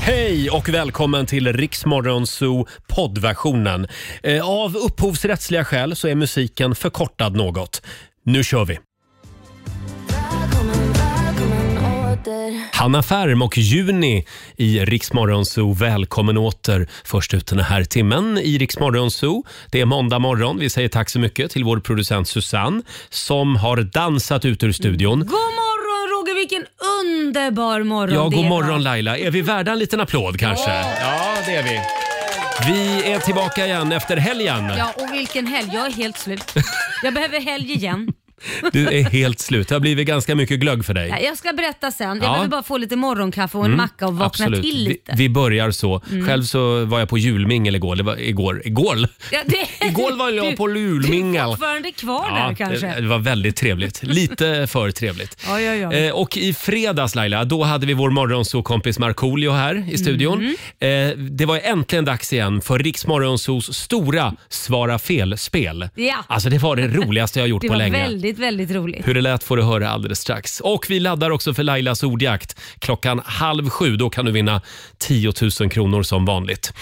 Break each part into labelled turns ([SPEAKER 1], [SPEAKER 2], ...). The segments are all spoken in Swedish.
[SPEAKER 1] Hej och välkommen till Riksmorgon Zoo poddversionen. Eh, Av upphovsrättsliga skäl så är musiken förkortad något. Nu kör vi! Hanna Färm och Juni i Riksmorgon Zoo. Välkommen åter först ut den här timmen i Riksmorgon Zoo. Det är måndag morgon. Vi säger tack så mycket till vår producent Susanne som har dansat ut ur studion.
[SPEAKER 2] God morgon Roger, vilken underbar morgon
[SPEAKER 1] Ja,
[SPEAKER 2] det
[SPEAKER 1] god
[SPEAKER 2] var.
[SPEAKER 1] morgon Laila. Är vi värda en liten applåd kanske? Ja, det är vi. Vi är tillbaka igen efter helgen.
[SPEAKER 2] Ja, och vilken helg. Jag är helt slut. Jag behöver helg igen.
[SPEAKER 1] Du är helt slut. Det har blivit ganska mycket glögg för dig.
[SPEAKER 2] Nej, Jag ska berätta sen. Jag
[SPEAKER 1] Ja. Mm,
[SPEAKER 2] behöver bara få lite morgonkaffe och en macka och vakna
[SPEAKER 1] Absolut.
[SPEAKER 2] till lite. Mm.
[SPEAKER 1] Vi, vi börjar så. Själv så var jag på julmingel igår. Det var igår. Igår?
[SPEAKER 2] Ja, det...
[SPEAKER 1] Igår var jag
[SPEAKER 2] Du-
[SPEAKER 1] på
[SPEAKER 2] Du är
[SPEAKER 1] julmingel.
[SPEAKER 2] fortfarande kvar
[SPEAKER 1] Ja, eh,
[SPEAKER 2] där kanske.
[SPEAKER 1] det, det var väldigt trevligt. Lite för trevligt.
[SPEAKER 2] Oj, oj, oj.
[SPEAKER 1] Eh, och i fredags Laila, då hade vi vår morgonsåkompis Markoolio här
[SPEAKER 2] Mm.
[SPEAKER 1] i studion. Eh, det var äntligen dags igen för Riks Morgonzos stora Svara fel-spel.
[SPEAKER 2] Ja.
[SPEAKER 1] Alltså det var det roligaste jag gjort
[SPEAKER 2] Det
[SPEAKER 1] på
[SPEAKER 2] var
[SPEAKER 1] länge.
[SPEAKER 2] väldigt, väldigt roligt.
[SPEAKER 1] Hur det lät får du höra alldeles strax. Och vi laddar också för Lailas ordjakt klockan halv sju. Då kan du vinna 10 000 kronor som vanligt.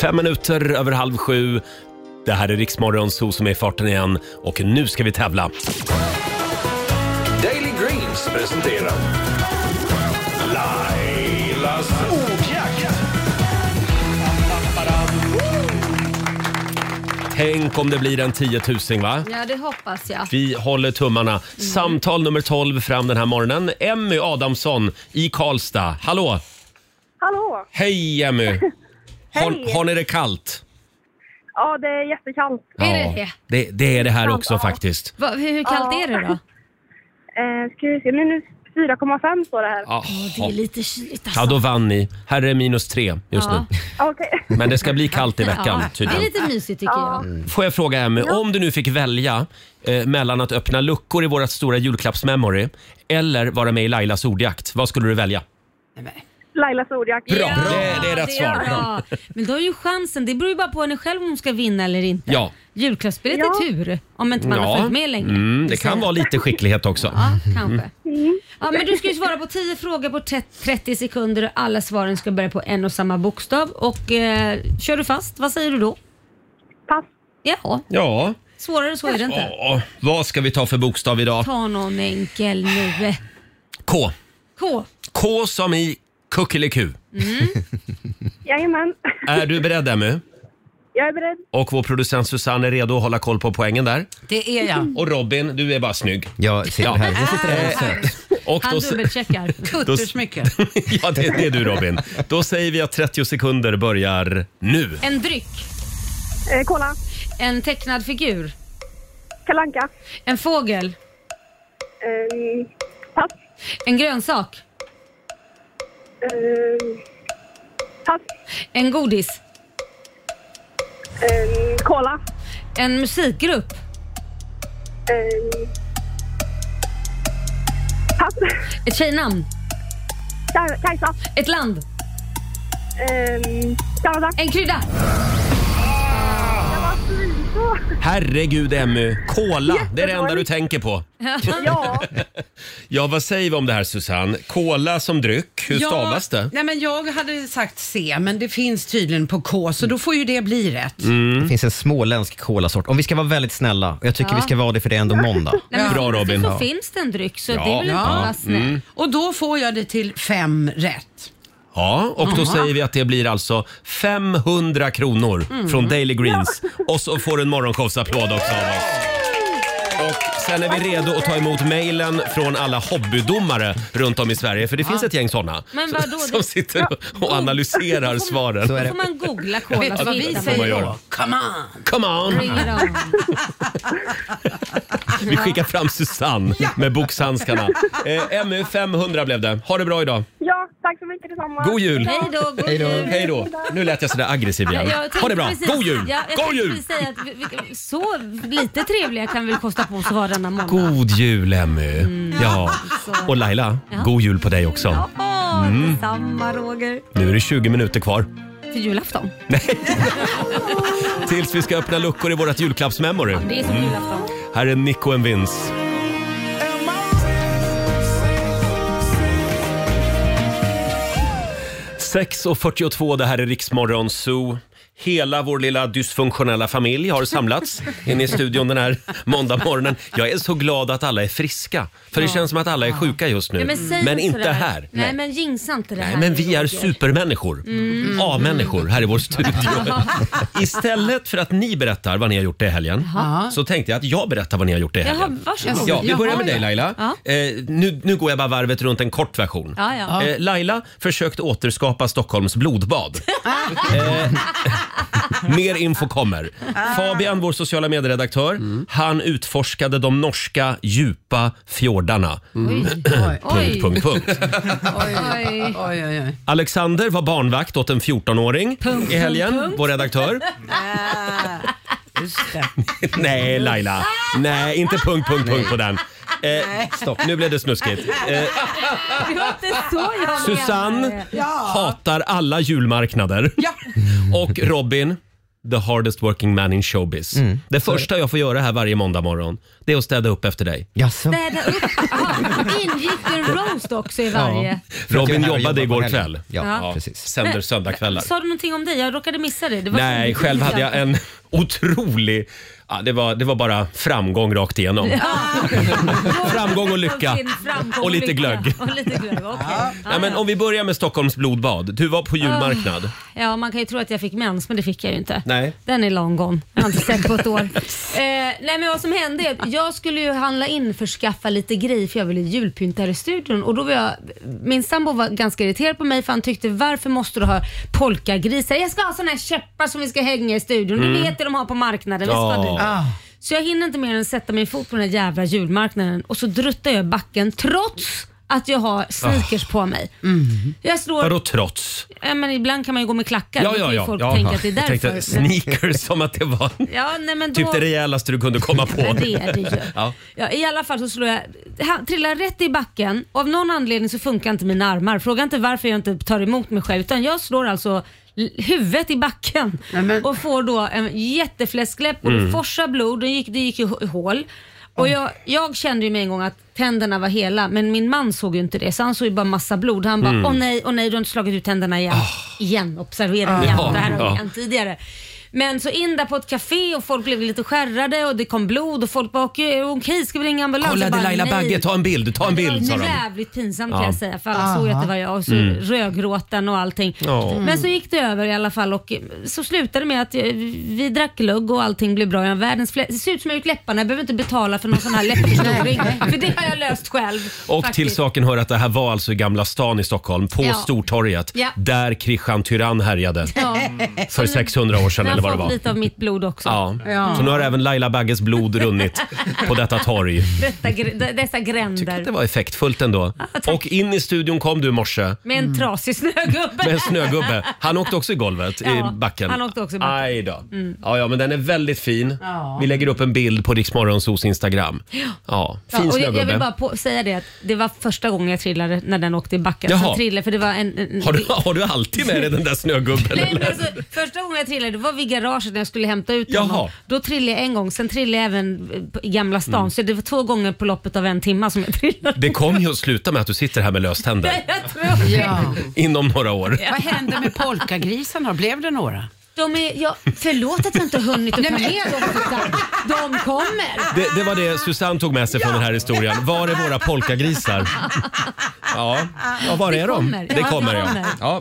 [SPEAKER 1] Fem minuter över halv sju. Det här är Riksmorgon Zoo som är i farten igen och nu ska vi tävla.
[SPEAKER 3] Daily Greens presenterar Lailas ordjakt.
[SPEAKER 1] Tänk om det blir en 10 000 va?
[SPEAKER 2] Ja, det hoppas jag.
[SPEAKER 1] Vi håller tummarna. Samtal nummer 12 fram den här morgonen. Emmy Adamsson i Karlstad. Hallå!
[SPEAKER 4] Hallå!
[SPEAKER 1] Hej Emmy! Har,
[SPEAKER 4] Hej.
[SPEAKER 1] har ni det kallt?
[SPEAKER 4] Ja, det är jättekallt.
[SPEAKER 2] Är det det?
[SPEAKER 1] det? Det är det här också faktiskt.
[SPEAKER 2] Va, hur hur kallt
[SPEAKER 4] Ja.
[SPEAKER 2] är det då?
[SPEAKER 4] Eh, ska vi se, minus 4,5 står det här.
[SPEAKER 1] Ja,
[SPEAKER 2] Det är lite kyligt alltså.
[SPEAKER 1] ja, då vann ni. Här är minus tre just
[SPEAKER 2] Ja.
[SPEAKER 1] nu.
[SPEAKER 4] Okej.
[SPEAKER 1] Men det ska bli kallt i veckan
[SPEAKER 2] Ja, Det är
[SPEAKER 1] tydligen.
[SPEAKER 2] lite mysigt tycker jag.
[SPEAKER 1] Får jag fråga Emmy, om du nu fick välja eh, mellan att öppna luckor i vårt stora julklappsmemory eller vara med i Lailas ordjakt, vad skulle du välja?
[SPEAKER 4] Lailas ordjakt.
[SPEAKER 1] Bra. Det- det är rätt svar.
[SPEAKER 2] bra. Men du har ju chansen. Det beror ju bara på henne själv om hon ska vinna eller inte.
[SPEAKER 1] Ja.
[SPEAKER 2] Julklappsspelet
[SPEAKER 4] Ja.
[SPEAKER 2] är tur om inte man har följt med längre.
[SPEAKER 1] Mm, det kan
[SPEAKER 2] Så-
[SPEAKER 1] vara Mm. lite skicklighet också.
[SPEAKER 2] Ja, kanske. Ja, men du ska ju svara på 10 frågor på 30 sekunder och alla svaren ska börja på en och samma bokstav. Och eh, kör du fast, vad säger du då?
[SPEAKER 4] Pass.
[SPEAKER 2] Jaha,
[SPEAKER 1] Ja.
[SPEAKER 2] svårare än så är det inte.
[SPEAKER 1] ja. Vad ska vi ta för bokstav idag?
[SPEAKER 2] Ta någon enkel nu.
[SPEAKER 1] K.
[SPEAKER 2] K.
[SPEAKER 1] K som i kuckeliku.
[SPEAKER 4] Jajamän.
[SPEAKER 1] Är du beredd Emmy?
[SPEAKER 4] Jag är beredd.
[SPEAKER 1] Och vår producent Susanne är redo att hålla koll på poängen där.
[SPEAKER 5] Det är jag.
[SPEAKER 1] Och Robin, du är bara snygg.
[SPEAKER 6] Jag sitter
[SPEAKER 1] Ja.
[SPEAKER 6] här. Jag sitter här och söt.
[SPEAKER 1] Och
[SPEAKER 2] Han
[SPEAKER 1] då,
[SPEAKER 2] dubbelcheckar.
[SPEAKER 5] Kuttersmycke.
[SPEAKER 1] ja, det, det är du Robin. Då säger vi att 30 sekunder börjar nu.
[SPEAKER 2] En dryck.
[SPEAKER 4] Eh, kolla.
[SPEAKER 2] En tecknad figur.
[SPEAKER 4] Kalle Anka.
[SPEAKER 2] En fågel.
[SPEAKER 4] Eh, pass.
[SPEAKER 2] En grönsak.
[SPEAKER 4] Eh, pass.
[SPEAKER 2] En godis.
[SPEAKER 4] Eh, kolla.
[SPEAKER 2] En musikgrupp.
[SPEAKER 4] Eh, pass.
[SPEAKER 2] Ett tjejnamn.
[SPEAKER 4] Kaj- Kajsa.
[SPEAKER 2] Ett land.
[SPEAKER 4] Eh, Kanada.
[SPEAKER 2] En krydda.
[SPEAKER 4] Så.
[SPEAKER 1] Herregud Emmy, kola, det är det enda du tänker på.
[SPEAKER 4] Ja.
[SPEAKER 1] Ja, vad säger vi om det här Susanne? Kola som dryck, hur
[SPEAKER 5] Ja,
[SPEAKER 1] stavas det?
[SPEAKER 5] Nej, men jag hade sagt C, men det finns tydligen på K, så då får ju det bli rätt.
[SPEAKER 1] Mm.
[SPEAKER 6] Det finns en småländsk kolasort. Om vi ska vara väldigt snälla, och jag tycker
[SPEAKER 2] Mm. Ja.
[SPEAKER 6] vi ska vara det för det är ändå måndag.
[SPEAKER 2] Nej, men
[SPEAKER 1] Bra,
[SPEAKER 2] finns det
[SPEAKER 1] Robin.
[SPEAKER 2] Så
[SPEAKER 1] Ja.
[SPEAKER 2] finns det en dryck så
[SPEAKER 1] Ja. Mm.
[SPEAKER 2] det är väl inte
[SPEAKER 5] Ja.
[SPEAKER 2] att vara snäll.
[SPEAKER 5] Och då får jag det till fem rätt.
[SPEAKER 1] Ja, och då
[SPEAKER 5] Ja.
[SPEAKER 1] säger vi att det blir alltså 500 kronor
[SPEAKER 2] Mm.
[SPEAKER 1] från Daily Greens. Och så får du en morgonshowsapplåd också av oss. Och sen är vi redo att ta emot mejlen från alla hobbydomare runt om i Sverige. För det finns ett gäng sådana
[SPEAKER 2] Men vadå,
[SPEAKER 1] som
[SPEAKER 2] det-
[SPEAKER 1] sitter och analyserar svaren.
[SPEAKER 6] Så är
[SPEAKER 2] Då
[SPEAKER 6] det.
[SPEAKER 2] får man googla cola.
[SPEAKER 5] Vet du vad
[SPEAKER 2] så
[SPEAKER 5] vi
[SPEAKER 2] hittar man.
[SPEAKER 1] får man
[SPEAKER 5] säger
[SPEAKER 1] göra.
[SPEAKER 5] då? Come on!
[SPEAKER 1] Come on!
[SPEAKER 2] Bring it on.
[SPEAKER 1] Vi skickar fram Susanne med boxhandskarna. Eh, MU 500 blev det. Ha det bra idag.
[SPEAKER 4] ja, tack så mycket detsamma.
[SPEAKER 1] God jul!
[SPEAKER 2] Hej då, god
[SPEAKER 6] Hej då.
[SPEAKER 2] jul.
[SPEAKER 1] Hej då! Nu lät jag sådär aggressiv igen.
[SPEAKER 2] Jag tänkte
[SPEAKER 1] Ha det bra!
[SPEAKER 2] precis-
[SPEAKER 1] God jul!
[SPEAKER 2] Ja, jag
[SPEAKER 1] God
[SPEAKER 2] tänkte
[SPEAKER 1] jul!
[SPEAKER 2] precis säga att vi, vi, så lite trevliga kan vi kosta på oss att vara denna måndag.
[SPEAKER 1] God jul Emmy!
[SPEAKER 2] Mm.
[SPEAKER 1] Ja. Och Laila, god jul på dig också. Mm.
[SPEAKER 2] Åh, detsamma Roger.
[SPEAKER 1] Nu är det 20 minuter kvar
[SPEAKER 2] För julafton.
[SPEAKER 1] tills vi ska öppna luckor i vårt julklappsmemory.
[SPEAKER 2] Det är som julafton.
[SPEAKER 1] Här är Nico and Vince. 6.42, det här är Riksmorgon Zoo. Hela vår lilla dysfunktionella familj har samlats inne i studion den här måndagmorgonen. Jag är så glad att alla är friska, för det känns som att alla är sjuka just nu.
[SPEAKER 2] Ja, men säg inte
[SPEAKER 1] inte
[SPEAKER 2] sådär.
[SPEAKER 1] här.
[SPEAKER 2] Nej, men jinxa inte det
[SPEAKER 1] Nej,
[SPEAKER 2] här.
[SPEAKER 1] men vi är
[SPEAKER 2] Roger.
[SPEAKER 1] supermänniskor.
[SPEAKER 2] Mm.
[SPEAKER 1] A-människor här i vår studio. Istället för att ni berättar vad ni har gjort i helgen så tänkte jag att jag berättar vad ni har gjort i
[SPEAKER 2] Jaha,
[SPEAKER 1] helgen.
[SPEAKER 2] varsågod.
[SPEAKER 1] Ja, vi börjar med
[SPEAKER 5] Jaha,
[SPEAKER 1] dig
[SPEAKER 5] ja.
[SPEAKER 1] Laila.
[SPEAKER 2] Ja.
[SPEAKER 1] Eh, nu, nu går jag bara varvet runt en kort version.
[SPEAKER 2] Ja, ja.
[SPEAKER 1] Eh, Laila försökte återskapa Stockholms blodbad. eh, mer info kommer.
[SPEAKER 2] Ah.
[SPEAKER 1] Fabian, vår sociala medieredaktör,
[SPEAKER 2] Mm.
[SPEAKER 1] han utforskade de norska djupa fjordarna.
[SPEAKER 2] Oj,
[SPEAKER 1] Mm. Punkt, punkt, punkt.
[SPEAKER 5] Oj,
[SPEAKER 2] Oj.
[SPEAKER 5] oj, oj. oj.
[SPEAKER 1] Alexander var barnvakt åt en 14-åring
[SPEAKER 2] Punkt,
[SPEAKER 1] i helgen,
[SPEAKER 2] punkt, punkt.
[SPEAKER 1] vår redaktör.
[SPEAKER 5] Just det.
[SPEAKER 1] Nej, Laila. Nej, inte punkt, punkt, punkt på den. Eh, stopp, nu blev det snuskigt. Eh,
[SPEAKER 2] Det var inte så jag menade.
[SPEAKER 1] Susanne hatar alla julmarknader.
[SPEAKER 5] Ja.
[SPEAKER 1] Och Robin, the hardest working man in showbiz. Det första jag får göra här varje måndag morgon, det är att städa upp efter dig.
[SPEAKER 6] Jaså?
[SPEAKER 2] Städa upp. Aha, ingick en roast också i varje.
[SPEAKER 1] Robin
[SPEAKER 6] Jag är här och
[SPEAKER 1] jobbade
[SPEAKER 6] jobbar på
[SPEAKER 1] igår
[SPEAKER 6] helgen.
[SPEAKER 1] kväll.
[SPEAKER 6] Ja,
[SPEAKER 2] Ja.
[SPEAKER 6] precis.
[SPEAKER 1] Sänder söndagkvällar.
[SPEAKER 2] Sa du någonting om dig? Jag råkade missa det. det var
[SPEAKER 1] Nej,
[SPEAKER 2] så-
[SPEAKER 1] själv hade jag en otrolig... Ja, det, var, det var bara framgång rakt igenom. Framgång och lycka.
[SPEAKER 2] Sin framgång
[SPEAKER 1] Och lite
[SPEAKER 2] lycka.
[SPEAKER 1] glögg.
[SPEAKER 2] Och lite glögg. okej.
[SPEAKER 1] Nej, men om vi börjar med Stockholms blodbad. Du var på julmarknad.
[SPEAKER 2] Ja, man kan ju tro att jag fick mens, men det fick jag ju inte.
[SPEAKER 1] Nej.
[SPEAKER 2] Den är long gone. Jag har inte sett på ett år. eh, nej, men vad som hände är att jag skulle ju handla in för att skaffa lite grejer för jag ville julpynta här i studion. Och då var jag, min sambo var ganska irriterad på mig för han tyckte varför måste du ha polkagrisar? Jag ska ha såna här käppar som vi ska hänga i studion. Du vet det de har på marknaden. Vi ska
[SPEAKER 1] Mm. Ja.
[SPEAKER 2] dit.
[SPEAKER 5] Ah.
[SPEAKER 2] Så jag hinner inte mer än sätta min fot på den här jävla julmarknaden och så druttar jag i backen trots att jag har sneakers på mig. Jag slår
[SPEAKER 1] Ah. Mm. Vadå trots?
[SPEAKER 2] Ja, men ibland kan man ju gå med klackar. Då kan ju folk
[SPEAKER 1] Ja,
[SPEAKER 2] tänka att det är
[SPEAKER 1] jag
[SPEAKER 2] därför.
[SPEAKER 1] tänkte sneakers som att det var
[SPEAKER 2] ja, nej, men då...
[SPEAKER 1] typ det rejälaste du kunde komma på.
[SPEAKER 2] Ja, det är det ju.
[SPEAKER 1] Ja.
[SPEAKER 2] Ja. I alla fall så slår jag, ha- trillar rätt i backen och av någon anledning så funkar inte mina armar. Fråga inte varför jag inte tar emot mig själv utan jag slår alltså l- huvudet i backen
[SPEAKER 5] Nej, men-
[SPEAKER 2] och får då en jättefläskläpp och
[SPEAKER 1] Mm.
[SPEAKER 2] det forsar blod. Det gick, det gick i h- hål. Och jag, jag kände ju med en gång att tänderna var hela men min man såg ju inte det så han såg ju bara massa blod. Han
[SPEAKER 1] Mm.
[SPEAKER 2] bara åh nej, åh nej du har inte slagit ut tänderna igen.
[SPEAKER 1] Ah.
[SPEAKER 2] Igen, observera igen.
[SPEAKER 1] Ja,
[SPEAKER 2] Det här har
[SPEAKER 1] ja.
[SPEAKER 2] vi hänt tidigare. Men så in där på ett café och folk blev lite skärrade och det kom blod och folk bara okej, okej ska vi ringa ambulans?
[SPEAKER 1] Kolla
[SPEAKER 2] Jag
[SPEAKER 1] det
[SPEAKER 2] Alltså, bara,
[SPEAKER 1] är Laila
[SPEAKER 2] nej.
[SPEAKER 1] Bagge, ta en bild, ta en bild
[SPEAKER 2] Det
[SPEAKER 1] sa
[SPEAKER 2] var
[SPEAKER 1] de.
[SPEAKER 2] jävligt pinsamt
[SPEAKER 1] Ja. Mm.
[SPEAKER 2] kan jag säga för alla såg ju att det var jag och så rödgråten och allting.
[SPEAKER 1] Ja. Mm.
[SPEAKER 2] Men så gick det över i alla fall och så slutade det med att eh, vi drack glögg och allting blev bra. Jag har världens flä- det ser ut som jag har gjort läpparna, jag behöver inte betala för någon sån här läppförstoring för det har jag löst själv.
[SPEAKER 1] Och till
[SPEAKER 2] faktiskt.
[SPEAKER 1] saken hör att det här var alltså i Gamla stan i Stockholm, på
[SPEAKER 2] Ja.
[SPEAKER 1] Stortorget,
[SPEAKER 2] Ja.
[SPEAKER 1] där Kristian Tyrann härjade
[SPEAKER 2] Ja.
[SPEAKER 1] för 600 år sedan
[SPEAKER 2] Jag
[SPEAKER 1] eller vad
[SPEAKER 2] har
[SPEAKER 1] det
[SPEAKER 2] fått
[SPEAKER 1] var.
[SPEAKER 2] lite av mitt blod också.
[SPEAKER 1] Ja. Så nu har även Laila Bagges blod runnit på detta torg.
[SPEAKER 2] Detta, gr- d- dessa gränder.
[SPEAKER 1] Det var effektfullt ändå.
[SPEAKER 2] tack.
[SPEAKER 1] Och in i studion kom du i morse.
[SPEAKER 2] Med en trasig snögubbe.
[SPEAKER 1] Mm. Med en snögubbe. Han åkte också i golvet,
[SPEAKER 2] Ja,
[SPEAKER 1] i backen.
[SPEAKER 2] han åkte också i backen. Mm.
[SPEAKER 1] Aj då. Ja, ja, men den är väldigt fin. Vi lägger upp en bild på Riksmorgonsos Instagram. Ja, fin
[SPEAKER 2] Ja, och jag,
[SPEAKER 1] snögubbe.
[SPEAKER 2] jag vill bara på, säga det att det var första gången jag trillade när den åkte i backen.
[SPEAKER 1] Jaha.
[SPEAKER 2] Så trillade, för det var en, en,
[SPEAKER 1] har, du, har du alltid med dig den där snögubben?
[SPEAKER 2] Nej, men
[SPEAKER 1] eller?
[SPEAKER 2] alltså, första gången jag trillade det var vid garaget när jag skulle hämta ut
[SPEAKER 1] Jaha. Mm.
[SPEAKER 2] honom. Då trillade jag en gång, sen trillade jag även eh, på- i Gamla stan. Så det var två gånger på loppet av en timma som jag trillade.
[SPEAKER 1] Det kommer ju att sluta med att du sitter här med löständer
[SPEAKER 2] Jag tror det.
[SPEAKER 5] Ja.
[SPEAKER 1] inom några år.
[SPEAKER 5] Vad hände med polkagrisarna? Blev det några?
[SPEAKER 2] De är, ja, förlåt att jag inte har hunnit att ta med dem. Susanne. De kommer.
[SPEAKER 1] Det, det var det Susanne tog med sig från den här historien. Var är våra polkagrisar? Ja, ja var
[SPEAKER 2] Det
[SPEAKER 1] är de?
[SPEAKER 2] kommer.
[SPEAKER 1] Det
[SPEAKER 2] Ja,
[SPEAKER 1] kommer,
[SPEAKER 2] det
[SPEAKER 1] ja.
[SPEAKER 2] kommer.
[SPEAKER 1] ja.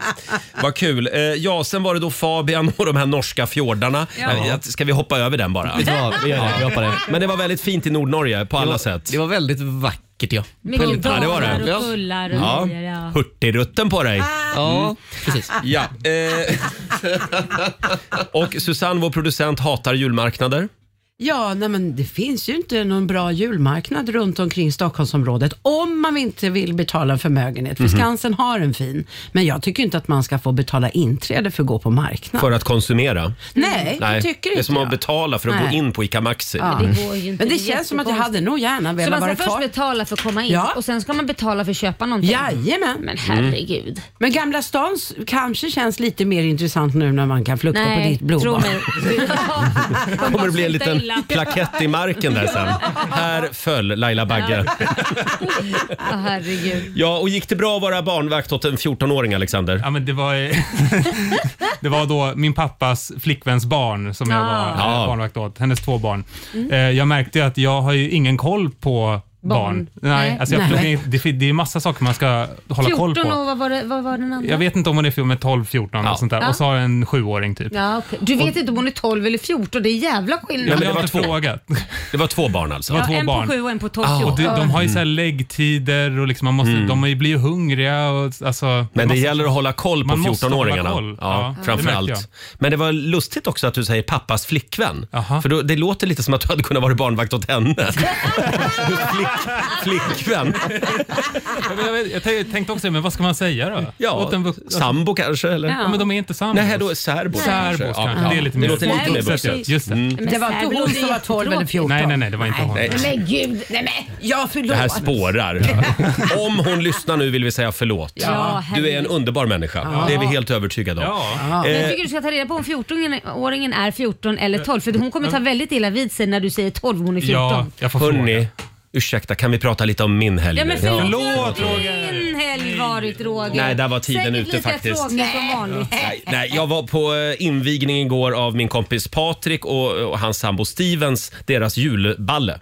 [SPEAKER 1] Vad kul. Eh, Ja, sen var det då Fabian och de här norska fjordarna. Ja. Ska vi hoppa över den bara?
[SPEAKER 6] Ja, vi gör det. Vi hoppar det.
[SPEAKER 1] Men det var väldigt fint i Nordnorge på alla sätt.
[SPEAKER 6] Det var väldigt vackert ja.
[SPEAKER 2] Mycket
[SPEAKER 1] Ja, det var det.
[SPEAKER 2] dagar och kullar och
[SPEAKER 1] Ja.
[SPEAKER 2] grejer. Ja.
[SPEAKER 1] Hurtigrutten på dig.
[SPEAKER 6] Ja, Mm. precis.
[SPEAKER 1] Ja. Eh. Och Susanne, vår producent, hatar julmarknader.
[SPEAKER 5] Ja, nej men det finns ju inte någon bra julmarknad runt omkring Stockholmsområdet om man inte vill betala en förmögenhet.
[SPEAKER 1] Mhm.
[SPEAKER 5] För Skansen har en fin, men jag tycker inte att man ska få betala inträde för att gå på marknad.
[SPEAKER 1] För att konsumera.
[SPEAKER 5] Nej,
[SPEAKER 1] Mm.
[SPEAKER 5] det tycker
[SPEAKER 1] det är
[SPEAKER 5] inte
[SPEAKER 1] som att
[SPEAKER 5] jag.
[SPEAKER 1] betala för att gå
[SPEAKER 5] Nej.
[SPEAKER 1] in på ICA Maxi.
[SPEAKER 5] Ja.
[SPEAKER 2] Det går ju inte.
[SPEAKER 5] Men det
[SPEAKER 2] är
[SPEAKER 5] känns som att jag
[SPEAKER 2] jättekonstigt.
[SPEAKER 5] hade nog gärna
[SPEAKER 2] Så
[SPEAKER 5] velat
[SPEAKER 2] man
[SPEAKER 5] vara
[SPEAKER 2] ska först
[SPEAKER 5] kvar.
[SPEAKER 2] betala för att komma in
[SPEAKER 5] Ja. Mm.
[SPEAKER 2] och sen ska man betala för att köpa någonting?
[SPEAKER 5] Jajamän.
[SPEAKER 2] Men herregud.
[SPEAKER 5] Men Gamla stan s- kanske känns lite mer intressant nu när man kan flukta på
[SPEAKER 2] Nej,
[SPEAKER 5] ditt blodbad.
[SPEAKER 2] tro mig. Ja.
[SPEAKER 1] kommer det bli en
[SPEAKER 2] Sluta
[SPEAKER 1] liten
[SPEAKER 2] Laila.
[SPEAKER 1] plakett i marken där sen. Här föll Laila Bagge.
[SPEAKER 2] Ja, herregud.
[SPEAKER 1] Ja, och gick det bra att vara barnvakt åt en 14-åring, Alexander?
[SPEAKER 7] Ja, men det, var, eh, det var då min pappas flickväns barn som jag var
[SPEAKER 1] Ah.
[SPEAKER 7] eh, barnvakt åt, hennes två barn. Eh, Jag märkte ju att jag har ju ingen koll på barn.
[SPEAKER 2] Barn. Nej.
[SPEAKER 7] Nej, alltså jag,
[SPEAKER 5] Nej.
[SPEAKER 7] Det, det, är massa saker man ska hålla koll
[SPEAKER 2] 14
[SPEAKER 7] på.
[SPEAKER 2] och vad var, det, vad var den andra?
[SPEAKER 7] Jag vet inte om hon är fjol- men 12, 14
[SPEAKER 1] Ja.
[SPEAKER 7] och sånt där.
[SPEAKER 2] Ja.
[SPEAKER 7] Och så har jag en sjuåring typ.
[SPEAKER 2] Ja, okej. Du vet inte om hon är 12 eller 14, det är jävla skillnad.
[SPEAKER 7] Ja, men
[SPEAKER 1] det
[SPEAKER 7] jag
[SPEAKER 1] var
[SPEAKER 7] har inte
[SPEAKER 1] två.
[SPEAKER 7] frågat.
[SPEAKER 1] Det var två barn Ah, alltså.
[SPEAKER 7] var
[SPEAKER 2] Ja,
[SPEAKER 7] två
[SPEAKER 2] en
[SPEAKER 7] barn.
[SPEAKER 2] på 7 och en på 12.
[SPEAKER 7] Och de,
[SPEAKER 2] 14.
[SPEAKER 7] de
[SPEAKER 1] Mm.
[SPEAKER 7] har ju så här läggtider och liksom man måste, de har ju blivit hungriga. Och, alltså,
[SPEAKER 1] Men det
[SPEAKER 7] man-
[SPEAKER 1] gäller att hålla koll på
[SPEAKER 7] Man måste
[SPEAKER 1] 14-åringarna.
[SPEAKER 7] hålla koll.
[SPEAKER 1] Ja,
[SPEAKER 7] Ja,
[SPEAKER 1] framför
[SPEAKER 7] det
[SPEAKER 1] allt.
[SPEAKER 7] märkte
[SPEAKER 1] Men det var lustigt också att du säger pappas flickvän.
[SPEAKER 7] Aha.
[SPEAKER 1] För då, det låter lite som att du hade kunnat vara barnvakt åt henne. Flick, flickvän.
[SPEAKER 7] Ja, men Jag, vet- jag, tänkte- jag tänkte också, men vad ska man säga då?
[SPEAKER 1] Ja,
[SPEAKER 7] Åt en vux-
[SPEAKER 1] sambo kanske? Eller?
[SPEAKER 7] Ja, men de är inte sambos.
[SPEAKER 1] Nej, då är särbos
[SPEAKER 7] Särbos
[SPEAKER 1] kanske.
[SPEAKER 7] kanske.
[SPEAKER 1] Ja,
[SPEAKER 7] Det
[SPEAKER 1] ja.
[SPEAKER 7] är lite
[SPEAKER 1] Det
[SPEAKER 7] mer
[SPEAKER 1] låter lite Mm. mer
[SPEAKER 7] vuxet.
[SPEAKER 1] vuxet.
[SPEAKER 7] ja. Just det.
[SPEAKER 5] Det var inte hon som var 12 eller 14.
[SPEAKER 7] Nej, nej, nej, det var inte hon.
[SPEAKER 5] Nej.
[SPEAKER 2] Men gud, nej men.
[SPEAKER 5] Ja, förlåt.
[SPEAKER 1] Det här spårar. Om hon lyssnar nu vill vi säga förlåt.
[SPEAKER 2] Ja,
[SPEAKER 1] Du är en underbar människa. Det är vi helt övertygade om. Eh,
[SPEAKER 7] Ja.
[SPEAKER 2] Men jag tycker du ska ta reda på om 14-åringen är 14 eller 12 för hon kommer ta väldigt illa vid sig när du säger 12 och hon är 14.
[SPEAKER 7] ja, jag får fråga.
[SPEAKER 1] Hörni, ursäkta, kan vi prata lite om min helg
[SPEAKER 2] Ja, men
[SPEAKER 1] nu?
[SPEAKER 2] förlåt,
[SPEAKER 7] Förlåt,
[SPEAKER 2] hur har
[SPEAKER 7] Roger.
[SPEAKER 2] din helg varit Roger?
[SPEAKER 1] Nej, där var tiden
[SPEAKER 2] Säkert
[SPEAKER 1] ute
[SPEAKER 2] lika
[SPEAKER 1] faktiskt.
[SPEAKER 2] tråkigt som vanligt.
[SPEAKER 1] Nej, nej, jag var på eh, invigning igår av min kompis Patrik och, och hans sambo Stevens, deras julballe.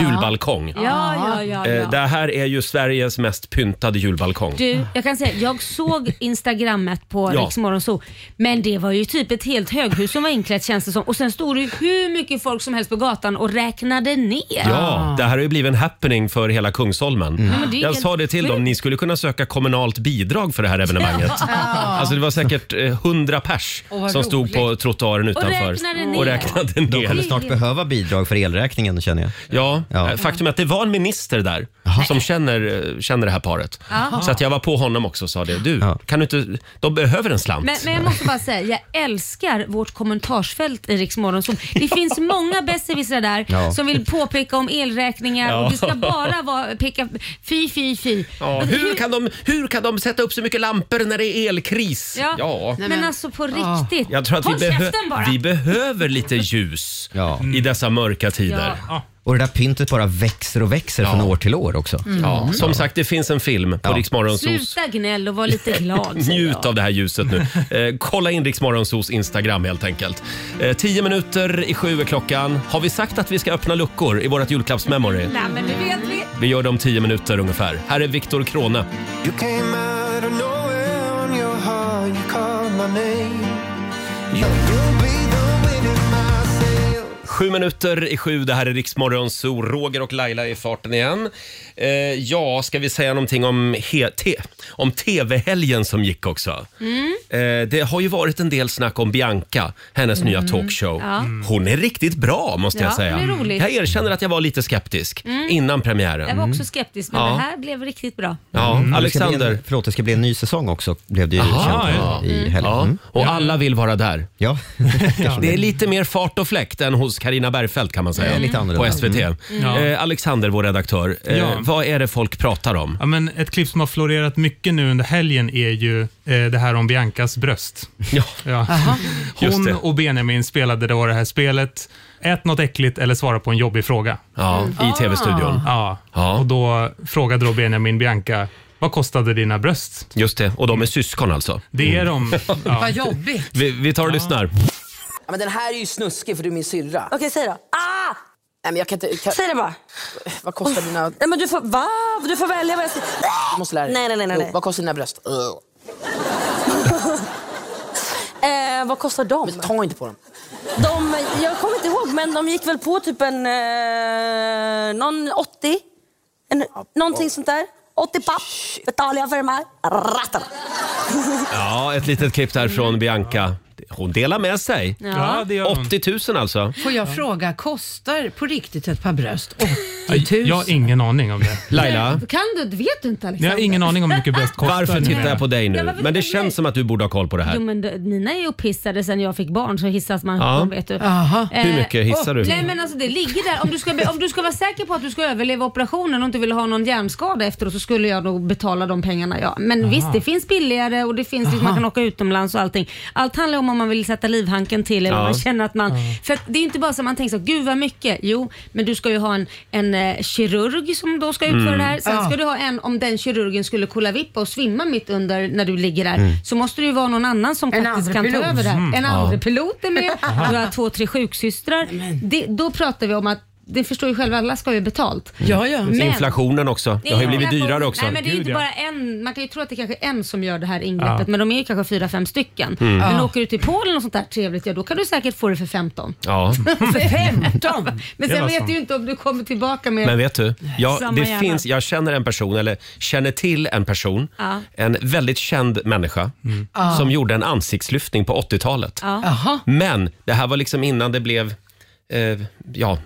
[SPEAKER 1] Julbalkong.
[SPEAKER 2] Ja, ja, ja. ja.
[SPEAKER 1] Eh, Det här är ju Sveriges mest pyntade julbalkong.
[SPEAKER 2] Du, jag kan säga, jag såg instagrammet på
[SPEAKER 1] Ja.
[SPEAKER 2] ja. så men det var ju typ ett helt höghus som var inklätt känns det som. Och sen stod det ju hur mycket folk som helst på gatan och räknade ner.
[SPEAKER 1] Ja, det här har ju blivit en happening för hela Kungsholmen.
[SPEAKER 2] Ah. men det är
[SPEAKER 1] Jag
[SPEAKER 2] helt
[SPEAKER 1] sa det till dem, ni skulle kunna söka kommunalt bidrag för det här evenemanget. Alltså det var säkert eh, 100 pers
[SPEAKER 5] vad
[SPEAKER 1] som stod på trottoaren utanför
[SPEAKER 2] räknade ner.
[SPEAKER 1] och räknade
[SPEAKER 6] De kommer
[SPEAKER 1] ner.
[SPEAKER 6] snart behöva bidrag för elräkningen känner jag.
[SPEAKER 1] Ja,
[SPEAKER 6] Ja.
[SPEAKER 1] eh, faktum är att det var en minister där som känner, eh, känner det här paret. Så att jag var på honom också och sa det. Du,
[SPEAKER 6] Ja.
[SPEAKER 1] kan du inte, de behöver en slant.
[SPEAKER 2] Men, men jag måste bara säga, jag älskar vårt kommentarsfält i Rix Morgon Zoo. Det finns många besserwissrar där
[SPEAKER 6] Ja.
[SPEAKER 2] som vill påpeka om elräkningar
[SPEAKER 1] Ja.
[SPEAKER 2] och du ska bara vara, peka fy, fy, fy.
[SPEAKER 1] Ja, hur, kan de, hur kan de sätta upp så mycket lampor när det är elkris?
[SPEAKER 2] Ja.
[SPEAKER 1] ja.
[SPEAKER 2] Men alltså på riktigt.
[SPEAKER 1] Jag tror att vi,
[SPEAKER 2] Håll
[SPEAKER 1] behö-
[SPEAKER 2] käften bara.
[SPEAKER 1] vi behöver lite ljus
[SPEAKER 6] Ja.
[SPEAKER 1] i dessa mörka tider.
[SPEAKER 2] Ja.
[SPEAKER 6] Och det där pyntet bara växer och växer från år till år också. Mm.
[SPEAKER 1] Ja, som sagt, det finns en film på ja. Riksmorgonsos.
[SPEAKER 2] Mm. Sluta gnäll och var lite glad. säger jag.
[SPEAKER 1] Njut av det här ljuset nu. Eh, kolla in Riksmorgonsos Instagram helt enkelt. Eh, tio minuter i sju är klockan. Har vi sagt att vi ska öppna luckor i vårt julklappsmemory?
[SPEAKER 2] Nej, men det vet vi.
[SPEAKER 1] Vi gör det om tio minuter ungefär. Här är Viktor Krone.
[SPEAKER 8] You came out of nowhere on your heart, you called my name. You, you'll be the winning my sail.
[SPEAKER 1] Sju minuter i sju, det här är Riksmorgonso. Roger och Laila är i farten igen. Eh, ja, ska vi säga någonting om, he- te- om tv-helgen som gick också?
[SPEAKER 2] Mm.
[SPEAKER 1] Eh, det har ju varit en del snack om Bianca, hennes nya talkshow. Hon är riktigt bra måste jag
[SPEAKER 2] Mm. Ja,
[SPEAKER 1] säga.
[SPEAKER 2] hon är rolig. Mm.
[SPEAKER 1] Jag erkänner att jag var lite skeptisk innan premiären.
[SPEAKER 2] Jag var också skeptisk men
[SPEAKER 1] Mm. Ja.
[SPEAKER 2] det här blev riktigt bra.
[SPEAKER 1] Ja,
[SPEAKER 6] Mm. Det ska bli
[SPEAKER 1] Alexander.
[SPEAKER 6] En, förlåt, det ska bli en ny säsong också blev det ju
[SPEAKER 1] Aha,
[SPEAKER 6] känt här
[SPEAKER 1] ja.
[SPEAKER 6] i helgen.
[SPEAKER 1] Ja,
[SPEAKER 6] Mm.
[SPEAKER 1] och alla vill vara där.
[SPEAKER 6] Ja.
[SPEAKER 1] Det är lite mer fart och fläkt än hos Karina Bergfeldt kan man säga.
[SPEAKER 7] Mm.
[SPEAKER 6] Det är lite annorlunda.
[SPEAKER 1] på SVT. Eh, Alexander, vår redaktör. Eh,
[SPEAKER 7] Ja.
[SPEAKER 1] Vad är det folk pratar om?
[SPEAKER 7] Ja, men ett klipp som har florerat mycket nu under helgen är ju eh, det här om Biancas bröst.
[SPEAKER 1] Ja.
[SPEAKER 7] Ja.
[SPEAKER 1] Just
[SPEAKER 7] Hon
[SPEAKER 1] det.
[SPEAKER 7] och Benjamin spelade då det här spelet. Ät något äckligt eller svara på en jobbig fråga.
[SPEAKER 1] Ja, I
[SPEAKER 7] Ah.
[SPEAKER 1] tv-studion.
[SPEAKER 7] Ja.
[SPEAKER 1] Ja.
[SPEAKER 7] Och då frågade då Benjamin Bianca, vad kostade dina bröst?
[SPEAKER 1] Just det, och de är syskon alltså.
[SPEAKER 7] Det är de. Ja.
[SPEAKER 5] Vad jobbigt.
[SPEAKER 1] Vi, vi tar och lyssnar.
[SPEAKER 9] Ja, men den här är ju snuskig för du är min syrra.
[SPEAKER 10] Okej, säg då. Ah!
[SPEAKER 9] Nej, men jag kan inte, kan,
[SPEAKER 10] Säg det bara.
[SPEAKER 9] vad kostar dina...
[SPEAKER 10] Nej, men du får, va? Du får välja vad jag ska...
[SPEAKER 9] Du måste lära dig.
[SPEAKER 10] Nej, nej, nej, nej,
[SPEAKER 9] Jo,
[SPEAKER 10] nej.
[SPEAKER 9] Vad kostar dina bröst? Ugh.
[SPEAKER 10] Eh, vad kostar de?
[SPEAKER 9] Men ta inte på dem.
[SPEAKER 10] de? Jag kommer inte ihåg, men de gick väl på typ en... Eh, någon 80? En, någonting sånt där. 80 papp betalar jag för de här. Rattarna.
[SPEAKER 1] Ja, ett litet klipp där från Bianca. Hon delar med sig.
[SPEAKER 7] Ja, Mm. det gör hon.
[SPEAKER 1] 80 000 alltså.
[SPEAKER 5] Får jag fråga, kostar på riktigt ett par bröst
[SPEAKER 7] Jag har ingen aning om det.
[SPEAKER 1] Laila?
[SPEAKER 2] Kan du? Vet du inte Alexander?
[SPEAKER 7] Jag har ingen aning om hur mycket bröst kostar.
[SPEAKER 1] Varför tittar jag på dig
[SPEAKER 2] Ja,
[SPEAKER 1] nu?
[SPEAKER 2] varför
[SPEAKER 1] Men det
[SPEAKER 2] tittar jag?
[SPEAKER 1] känns som att du borde ha koll på det
[SPEAKER 2] Jo
[SPEAKER 1] här.
[SPEAKER 2] men d- mina är ju upphissade sen jag fick barn så hissas man
[SPEAKER 1] Ja.
[SPEAKER 2] ja. vet du. Eh,
[SPEAKER 1] Aha. Hur mycket hissar du?
[SPEAKER 2] Nej men alltså det ligger där. Om du, ska, be- om du ska vara säker på att du ska överleva operationen och inte vill ha någon hjärnskada efteråt så skulle jag nog betala de pengarna ja. Men
[SPEAKER 11] Aha.
[SPEAKER 2] visst det finns billigare och det finns liksom, man kan åka utomlands och allting. Allt handlar om om man vill sätta livhanken till eller om
[SPEAKER 11] Ja.
[SPEAKER 2] man känner att man...
[SPEAKER 11] Ja.
[SPEAKER 2] För att det är ju inte bara så att man tänker så gud vad mycket. Jo men du ska ju ha en, en eh, kirurg som då ska utföra
[SPEAKER 11] Mm.
[SPEAKER 2] det här. Sen
[SPEAKER 11] Ja.
[SPEAKER 2] ska du ha en om den kirurgen skulle kolla-vippa och svimma mitt under när du ligger där
[SPEAKER 11] Mm.
[SPEAKER 2] så måste det ju vara någon annan som
[SPEAKER 11] En
[SPEAKER 2] faktiskt kan ta
[SPEAKER 11] andrepilot.
[SPEAKER 2] över det här.
[SPEAKER 11] Mm.
[SPEAKER 2] En
[SPEAKER 11] Ja.
[SPEAKER 2] andra pilot är med,
[SPEAKER 11] Aha.
[SPEAKER 2] du har två, tre sjuksystrar. Det, då pratar vi om att, det förstår ju själva, alla ska ju ha betalt.
[SPEAKER 5] Ja, ja.
[SPEAKER 2] Men-
[SPEAKER 1] Inflationen också. Det har ju blivit
[SPEAKER 2] Inflation-
[SPEAKER 1] dyrare också.
[SPEAKER 2] Nej, men det är ju inte
[SPEAKER 1] Gud, ja.
[SPEAKER 2] bara en, man kan ju tro att det är kanske är en som gör det här ingreppet,
[SPEAKER 1] Ja.
[SPEAKER 2] men de är ju kanske fyra, fem stycken.
[SPEAKER 1] Mm.
[SPEAKER 2] Men
[SPEAKER 1] Ja.
[SPEAKER 2] åker du till Polen och sånt där trevligt, ja då kan du säkert få det för 15.
[SPEAKER 1] Ja.
[SPEAKER 2] för 15? men
[SPEAKER 1] Det
[SPEAKER 2] sen
[SPEAKER 1] var
[SPEAKER 2] vet
[SPEAKER 1] sant.
[SPEAKER 2] du ju inte om du kommer tillbaka med
[SPEAKER 1] Men vet du, jag,
[SPEAKER 2] samma
[SPEAKER 1] det
[SPEAKER 2] hjärna.
[SPEAKER 1] finns, jag känner en person, eller känner till en person,
[SPEAKER 2] Ja.
[SPEAKER 1] en väldigt känd människa
[SPEAKER 2] Ja.
[SPEAKER 1] som gjorde en ansiktslyftning på 80-talet.
[SPEAKER 2] Ja. Aha.
[SPEAKER 1] Men det här var liksom innan det blev, eh, ja,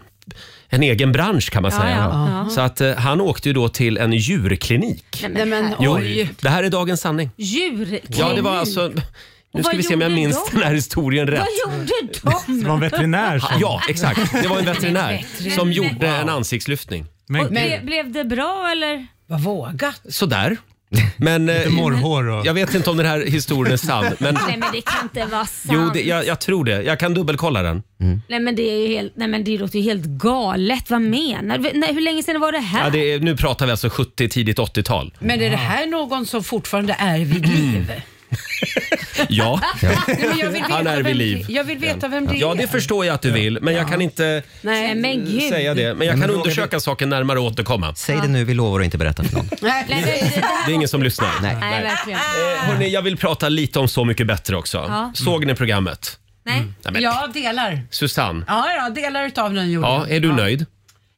[SPEAKER 1] en egen bransch kan man
[SPEAKER 2] Ja,
[SPEAKER 1] säga.
[SPEAKER 2] ja. Ja.
[SPEAKER 1] Så att eh, han åkte ju då till en djurklinik.
[SPEAKER 2] Nej, men,
[SPEAKER 1] det här är dagens sanning.
[SPEAKER 2] Djur?
[SPEAKER 1] Ja, det var alltså... Nu ska
[SPEAKER 2] vad
[SPEAKER 1] vi se om jag
[SPEAKER 2] gjorde
[SPEAKER 1] minns
[SPEAKER 2] de?
[SPEAKER 1] den här historien rätt.
[SPEAKER 2] Vad gjorde de?
[SPEAKER 1] Ja, exakt. Det var en veterinär
[SPEAKER 2] Veterinär.
[SPEAKER 1] som gjorde en ansiktslyftning.
[SPEAKER 2] Men, ble, blev det bra eller?
[SPEAKER 5] Vad vågat.
[SPEAKER 1] Sådär. Men, eh, Lite
[SPEAKER 7] morrhår och...
[SPEAKER 1] Jag vet inte om den här historien är sann. Men,
[SPEAKER 2] Nej men det kan inte vara sant.
[SPEAKER 1] jo, det, jag, jag tror det. Jag kan dubbelkolla den.
[SPEAKER 2] Nej men det är ju helt, nej men det låter ju helt galet. Vad menar du? Nej, hur länge sedan var det här?
[SPEAKER 1] Ja, det är, nu pratar vi alltså 70, tidigt 80-tal.
[SPEAKER 5] Men är det här någon som fortfarande är vid liv?
[SPEAKER 1] Ja.
[SPEAKER 5] Nej, men jag vill veta
[SPEAKER 1] Mm. Han är
[SPEAKER 5] vem
[SPEAKER 1] vid liv.
[SPEAKER 5] det- Jag vill veta vem det är.
[SPEAKER 1] Ja, det förstår jag att du vill, men jag kan inte
[SPEAKER 2] Nej men gud.
[SPEAKER 1] säga det. Men jag kan undersöka saken närmare och återkomma.
[SPEAKER 6] Säg det nu, vi lovar att inte berätta för någon.
[SPEAKER 2] Nej, nej, nej, nej.
[SPEAKER 1] Det är ingen som lyssnar.
[SPEAKER 2] nej verkligen.
[SPEAKER 1] Hörrni, jag vill prata lite om Så mycket bättre också.
[SPEAKER 5] Ja.
[SPEAKER 1] Såg ni programmet?
[SPEAKER 2] Nej.
[SPEAKER 1] Nej, men-
[SPEAKER 5] Jag delar.
[SPEAKER 1] Susanne,
[SPEAKER 5] Ja, ja, delar utav den gjorde
[SPEAKER 1] ja,
[SPEAKER 5] jag.
[SPEAKER 1] är du nöjd?
[SPEAKER 6] eh.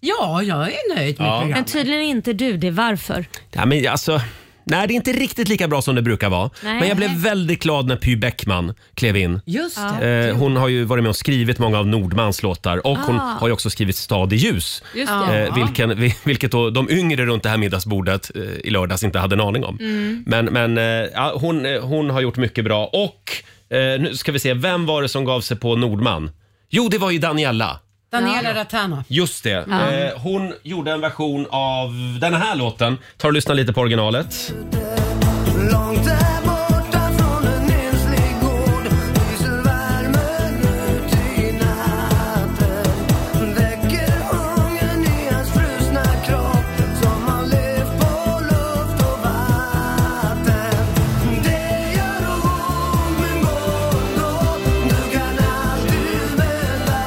[SPEAKER 5] Ja, jag är nöjd med
[SPEAKER 1] Ja.
[SPEAKER 2] Men
[SPEAKER 5] programmet.
[SPEAKER 2] tydligen inte du det. Varför?
[SPEAKER 1] Ja, men alltså, nej, det är inte riktigt lika bra som det brukar vara.
[SPEAKER 2] Nej.
[SPEAKER 1] Men jag blev väldigt glad när Py Bäckman klev in.
[SPEAKER 5] Just det.
[SPEAKER 1] Eh, hon har ju varit med och skrivit många av Nordmans låtar och hon
[SPEAKER 2] Ah.
[SPEAKER 1] har ju också skrivit Stad i ljus.
[SPEAKER 2] Just det.
[SPEAKER 1] Eh, vilken, vi- vilket då de yngre runt det här middagsbordet eh, i lördags inte hade en aning om.
[SPEAKER 2] Mm.
[SPEAKER 1] Men, men eh, ja, hon, eh, hon har gjort mycket bra och eh, nu ska vi se, vem var det som gav sig på Nordman? Jo, det var ju Daniela.
[SPEAKER 5] Daniela Ratana.
[SPEAKER 1] Just det.
[SPEAKER 5] Ja.
[SPEAKER 1] Eh, hon gjorde en version av den här låten. Tar och lyssnar lite på originalet.
[SPEAKER 8] Långt där borta från en enslig gård lyser värmen ut i natten Väcker hungern i hans frusna kropp som har levt på luft och vatten Det gör ont men gott då, nu kan allt du vända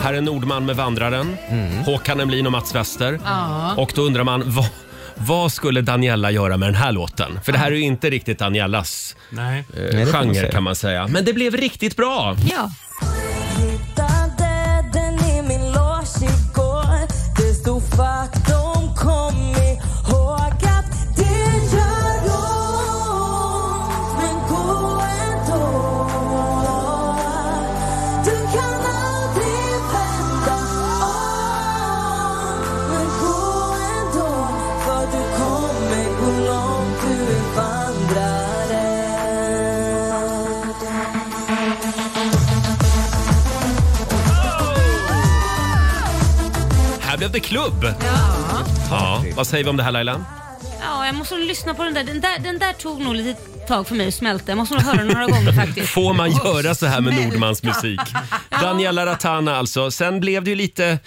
[SPEAKER 1] Här är Nordman med Vandraren,
[SPEAKER 7] Mm.
[SPEAKER 1] Håkan Emlin och Mats Wester.
[SPEAKER 8] Ja.
[SPEAKER 1] Och då undrar man, vad, vad skulle Daniela göra med den här låten? För det här är ju inte riktigt Danielas
[SPEAKER 7] Nej.
[SPEAKER 1] eh,
[SPEAKER 7] det får man
[SPEAKER 1] genre
[SPEAKER 7] säga.
[SPEAKER 1] kan man säga. Men det blev riktigt bra!
[SPEAKER 2] Ja.
[SPEAKER 11] Utan döden i min loge igår Det stod faktum, kom ihåg att det gör ont Men gå ändå Du kan aldrig vända om Men gå ändå För du kommer gå långt, du är vandrare
[SPEAKER 1] Här blev det klubb! Ja, vad säger vi om det här Laila?
[SPEAKER 2] Ja, jag måste nog lyssna på den där. Den där, den där tog nog lite tag för mig att smälta. Jag måste nog höra den några gånger faktiskt.
[SPEAKER 1] Får man göra så här med Nordmans musik? Daniela Ratana alltså. Sen blev det ju lite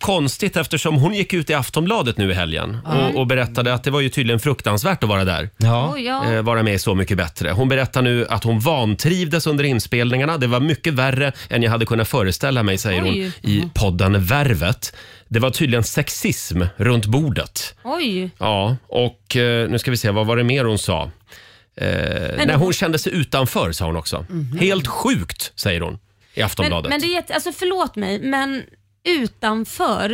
[SPEAKER 1] konstigt eftersom hon gick ut i Aftonbladet nu i helgen och, och berättade att det var ju tydligen fruktansvärt att vara där.
[SPEAKER 2] Ja. Oj, ja.
[SPEAKER 1] Eh, vara med i Så mycket bättre. Hon berättar nu att hon vantrivdes under inspelningarna. Det var mycket värre än jag hade kunnat föreställa mig, säger
[SPEAKER 2] Oj. Mm.
[SPEAKER 1] hon i podden Värvet. Det var tydligen sexism runt bordet.
[SPEAKER 2] Oj.
[SPEAKER 1] Ja, och eh, nu ska vi se, vad var det mer hon sa? Eh, när hon kände sig utanför sa hon också.
[SPEAKER 2] Mhm.
[SPEAKER 1] Helt sjukt, säger hon i
[SPEAKER 2] Men,
[SPEAKER 1] Aftonbladet.
[SPEAKER 2] men det är jätte, alltså förlåt mig, men utanför.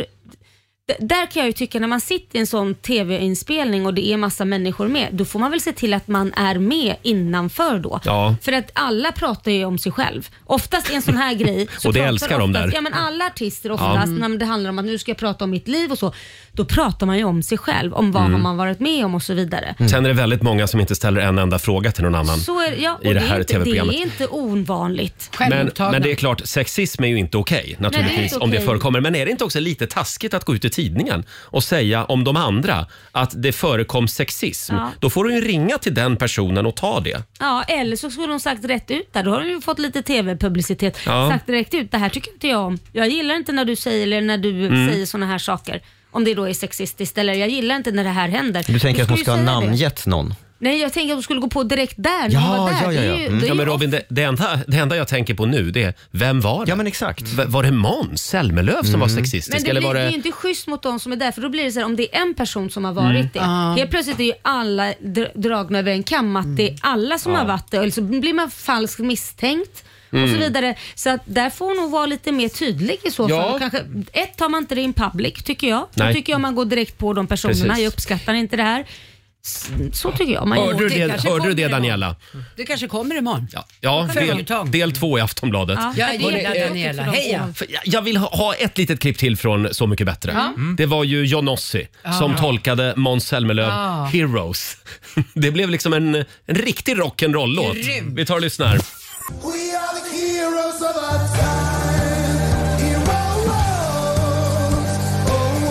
[SPEAKER 2] D- Där kan jag ju tycka när man sitter i en sån tv-inspelning och det är massa människor med, då får man väl se till att man är med innanför då.
[SPEAKER 1] Ja.
[SPEAKER 2] För att alla pratar ju om sig själv. Oftast i en sån här grej. så
[SPEAKER 1] Och det
[SPEAKER 2] pratar
[SPEAKER 1] älskar de
[SPEAKER 2] oftast-
[SPEAKER 1] där.
[SPEAKER 2] Ja men alla artister oftast,
[SPEAKER 1] Ja. Mm.
[SPEAKER 2] när det handlar om att nu ska jag prata om mitt liv och så, då pratar man ju om sig själv, om vad
[SPEAKER 1] Mm.
[SPEAKER 2] har man varit med om och så vidare.
[SPEAKER 1] Sen är det väldigt många som inte ställer en enda fråga till någon annan
[SPEAKER 2] Så är, ja, och
[SPEAKER 1] i det här
[SPEAKER 2] är inte, det
[SPEAKER 1] tv-programmet.
[SPEAKER 2] är inte ovanligt.
[SPEAKER 1] Men, men det är klart, sexism är ju inte okej naturligtvis
[SPEAKER 2] Nej, det är inte
[SPEAKER 1] om det
[SPEAKER 2] okej.
[SPEAKER 1] förekommer. Men är det inte också lite taskigt att gå ut i tidningen och säga om de andra att det förekom sexism?
[SPEAKER 2] Ja.
[SPEAKER 1] Då får du ju ringa till den personen och ta det.
[SPEAKER 2] Ja, eller så skulle hon sagt rätt ut där. Då har hon ju fått lite tv-publicitet.
[SPEAKER 1] Ja.
[SPEAKER 2] Sagt direkt ut, det här tycker inte jag om. Jag gillar inte när du säger eller när du
[SPEAKER 6] Mm.
[SPEAKER 2] säger såna här saker. Om det då är sexistiskt eller jag gillar inte när det här händer.
[SPEAKER 6] Du tänker att
[SPEAKER 2] skulle
[SPEAKER 6] hon
[SPEAKER 2] ju
[SPEAKER 6] ska ha
[SPEAKER 2] säga det.
[SPEAKER 6] namngett någon?
[SPEAKER 2] Nej, jag tänker att hon skulle gå på direkt där. när hon var där. Det är ju-
[SPEAKER 6] Mm.
[SPEAKER 2] det är
[SPEAKER 1] ja,
[SPEAKER 2] ju
[SPEAKER 1] men Robin, det, det, enda, det enda jag tänker på nu det är, vem var det? Ja, men exakt. Mm. var det Måns Zelmerlöw som var sexistisk?
[SPEAKER 2] Men det,
[SPEAKER 1] eller
[SPEAKER 2] blir,
[SPEAKER 1] var
[SPEAKER 2] det är
[SPEAKER 1] det...
[SPEAKER 2] ju inte schysst mot de som är där för då blir det så här, om det är en person som har varit
[SPEAKER 1] Mm.
[SPEAKER 2] det.
[SPEAKER 1] Ah.
[SPEAKER 2] Helt plötsligt är ju alla dr- dragna över en kam att
[SPEAKER 1] Mm.
[SPEAKER 2] det är alla som
[SPEAKER 1] Ja.
[SPEAKER 2] har varit det eller så blir man falskt misstänkt. Och så
[SPEAKER 1] Ah. Mm.
[SPEAKER 2] vidare. Så att där får hon nog vara lite mer tydlig i så fall.
[SPEAKER 1] Ja.
[SPEAKER 2] Och Kanske, ett, tar man inte det in public tycker jag. Då
[SPEAKER 1] Nej.
[SPEAKER 2] tycker jag man går direkt på de personerna.
[SPEAKER 1] Precis.
[SPEAKER 2] Jag uppskattar inte det här. S- Så tycker jag man
[SPEAKER 1] Hörde du det,
[SPEAKER 5] kanske
[SPEAKER 1] hörde du
[SPEAKER 5] kommer
[SPEAKER 1] det
[SPEAKER 5] då.
[SPEAKER 1] Daniela?
[SPEAKER 5] Det kanske kommer imorgon.
[SPEAKER 1] Ja, ja del,
[SPEAKER 5] Följetong.
[SPEAKER 1] del två i Aftonbladet.
[SPEAKER 5] Ja, jag
[SPEAKER 1] Hörrni,
[SPEAKER 5] gillar
[SPEAKER 1] eh,
[SPEAKER 5] Daniela. Heja!
[SPEAKER 1] För jag- Jag vill ha- ha ett litet klipp till från Så mycket bättre.
[SPEAKER 5] Ja. Mm.
[SPEAKER 1] Det var ju Johnossi
[SPEAKER 5] Ja.
[SPEAKER 1] som tolkade Måns Zelmerlöw
[SPEAKER 5] Ja.
[SPEAKER 1] Heroes. Det blev liksom en, en riktig rock'n'roll-låt.
[SPEAKER 11] Grymt.
[SPEAKER 1] Vi tar och lyssnar.
[SPEAKER 11] We are the heroes of our time. Heroes, oh,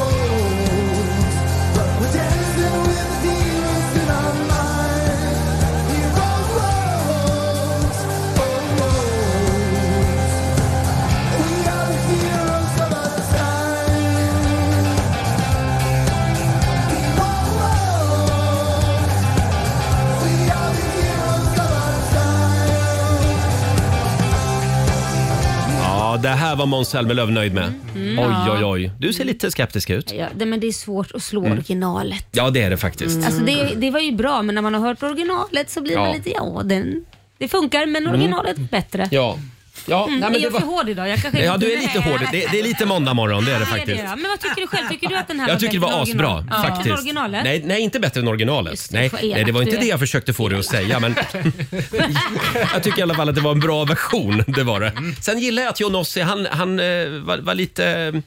[SPEAKER 11] oh. But we're dancing with the demons in our mind. Heroes, oh, oh. We are the heroes of our time. Heroes, we are the heroes of our time.
[SPEAKER 1] Ja, det här var Måns Zelmerlöw nöjd med.
[SPEAKER 2] Mm.
[SPEAKER 1] Oj,
[SPEAKER 2] Ja.
[SPEAKER 1] oj, oj. Du ser lite skeptisk ut.
[SPEAKER 2] Ja, det, men det är svårt att slå
[SPEAKER 1] Mm.
[SPEAKER 2] originalet.
[SPEAKER 1] Ja, det är det faktiskt.
[SPEAKER 2] Alltså det, det var ju bra, men när man har hört originalet så blir
[SPEAKER 1] Mm. Ja.
[SPEAKER 2] man lite, ja den, det funkar men
[SPEAKER 1] Mm.
[SPEAKER 2] originalet är bättre.
[SPEAKER 1] Ja. Ja,
[SPEAKER 2] Mm,
[SPEAKER 1] nej,
[SPEAKER 2] är
[SPEAKER 1] men det
[SPEAKER 2] jag
[SPEAKER 1] var...
[SPEAKER 2] för hård idag? Jag kanske
[SPEAKER 1] ja, du är lite hård. Det, det är lite måndag morgon, det är det faktiskt.
[SPEAKER 2] Men vad tycker du själv? Tycker du att den här
[SPEAKER 1] Jag tycker det
[SPEAKER 2] bättre
[SPEAKER 1] var
[SPEAKER 2] än
[SPEAKER 1] asbra
[SPEAKER 2] original? Ja. Bättre än
[SPEAKER 1] faktiskt.
[SPEAKER 2] originalet?
[SPEAKER 1] Nej, nej, inte bättre än originalet. Nej,
[SPEAKER 2] vad elak
[SPEAKER 1] nej, det var
[SPEAKER 2] du
[SPEAKER 1] inte
[SPEAKER 2] är.
[SPEAKER 1] det jag försökte få dig att säga, men jag tycker i alla fall att det var en bra version. Det var det. Sen gillar jag att Johnossi, han, han eh, var, var lite... eh,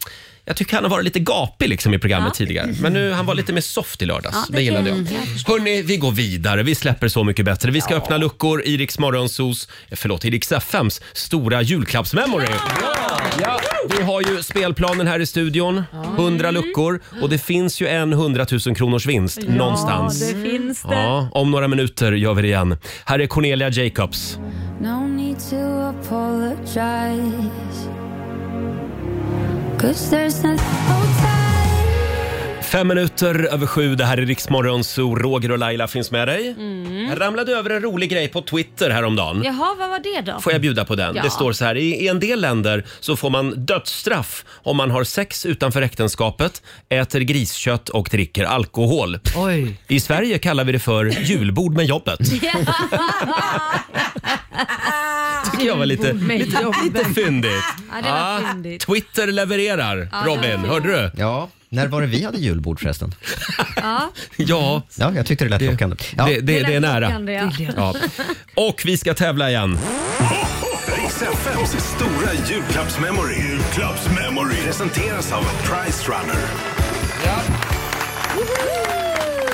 [SPEAKER 1] Jag tycker han har varit lite gapig liksom i programmet
[SPEAKER 2] Ja.
[SPEAKER 1] tidigare. Men nu, han var lite mer soft i lördags.
[SPEAKER 2] Ja, det
[SPEAKER 1] det
[SPEAKER 2] kan
[SPEAKER 1] gillade
[SPEAKER 2] jag-
[SPEAKER 1] jag.
[SPEAKER 2] jag
[SPEAKER 1] Hörni, vi går vidare. Vi släpper Så mycket bättre. Vi ska öppna luckor i Rix Morgonzos, eh, förlåt, i Rix FMs stora julklappsmemory. Ja, vi har ju spelplanen här i studion. 100 luckor och det finns ju en 100 000 kronors vinst någonstans.
[SPEAKER 2] Mm. Ja, det finns det.
[SPEAKER 1] Ja, om några minuter gör vi det igen. Här är Cornelia Jacobs.
[SPEAKER 11] No need to apologize. Cause there's nothing.
[SPEAKER 1] Fem minuter över sju. Det här är Riksmorgon, så Roger och Laila finns med dig.
[SPEAKER 2] Mm.
[SPEAKER 1] Jag ramlade över en rolig grej på Twitter häromdagen.
[SPEAKER 2] Jaha, vad var det då?
[SPEAKER 1] Får jag bjuda på den?
[SPEAKER 2] Ja.
[SPEAKER 1] Det står så här, i, i en del länder så får man dödsstraff om man har sex utanför äktenskapet, äter griskött och dricker alkohol. I Sverige kallar vi det för julbord med jobbet. tycker jag var lite,
[SPEAKER 11] Julbord med
[SPEAKER 1] lite,
[SPEAKER 11] jobbet.
[SPEAKER 1] lite fyndigt. Ah,
[SPEAKER 11] Ja, det var fyndigt.
[SPEAKER 1] Twitter levererar,
[SPEAKER 11] Ja, det var
[SPEAKER 1] Robin.
[SPEAKER 11] fyndigt.
[SPEAKER 1] Hörde du?
[SPEAKER 6] Ja. När var det vi hade julbord förresten?
[SPEAKER 2] Ja.
[SPEAKER 1] Ja.
[SPEAKER 6] Ja, jag tyckte det lät lockande. Ja.
[SPEAKER 1] Det, det, det är nära.
[SPEAKER 2] Kan det, ja.
[SPEAKER 1] Ja. Och vi ska tävla igen.
[SPEAKER 3] Riks FMs stora julklappsmemory. Julklappsmemory. Presenteras av Price Runner.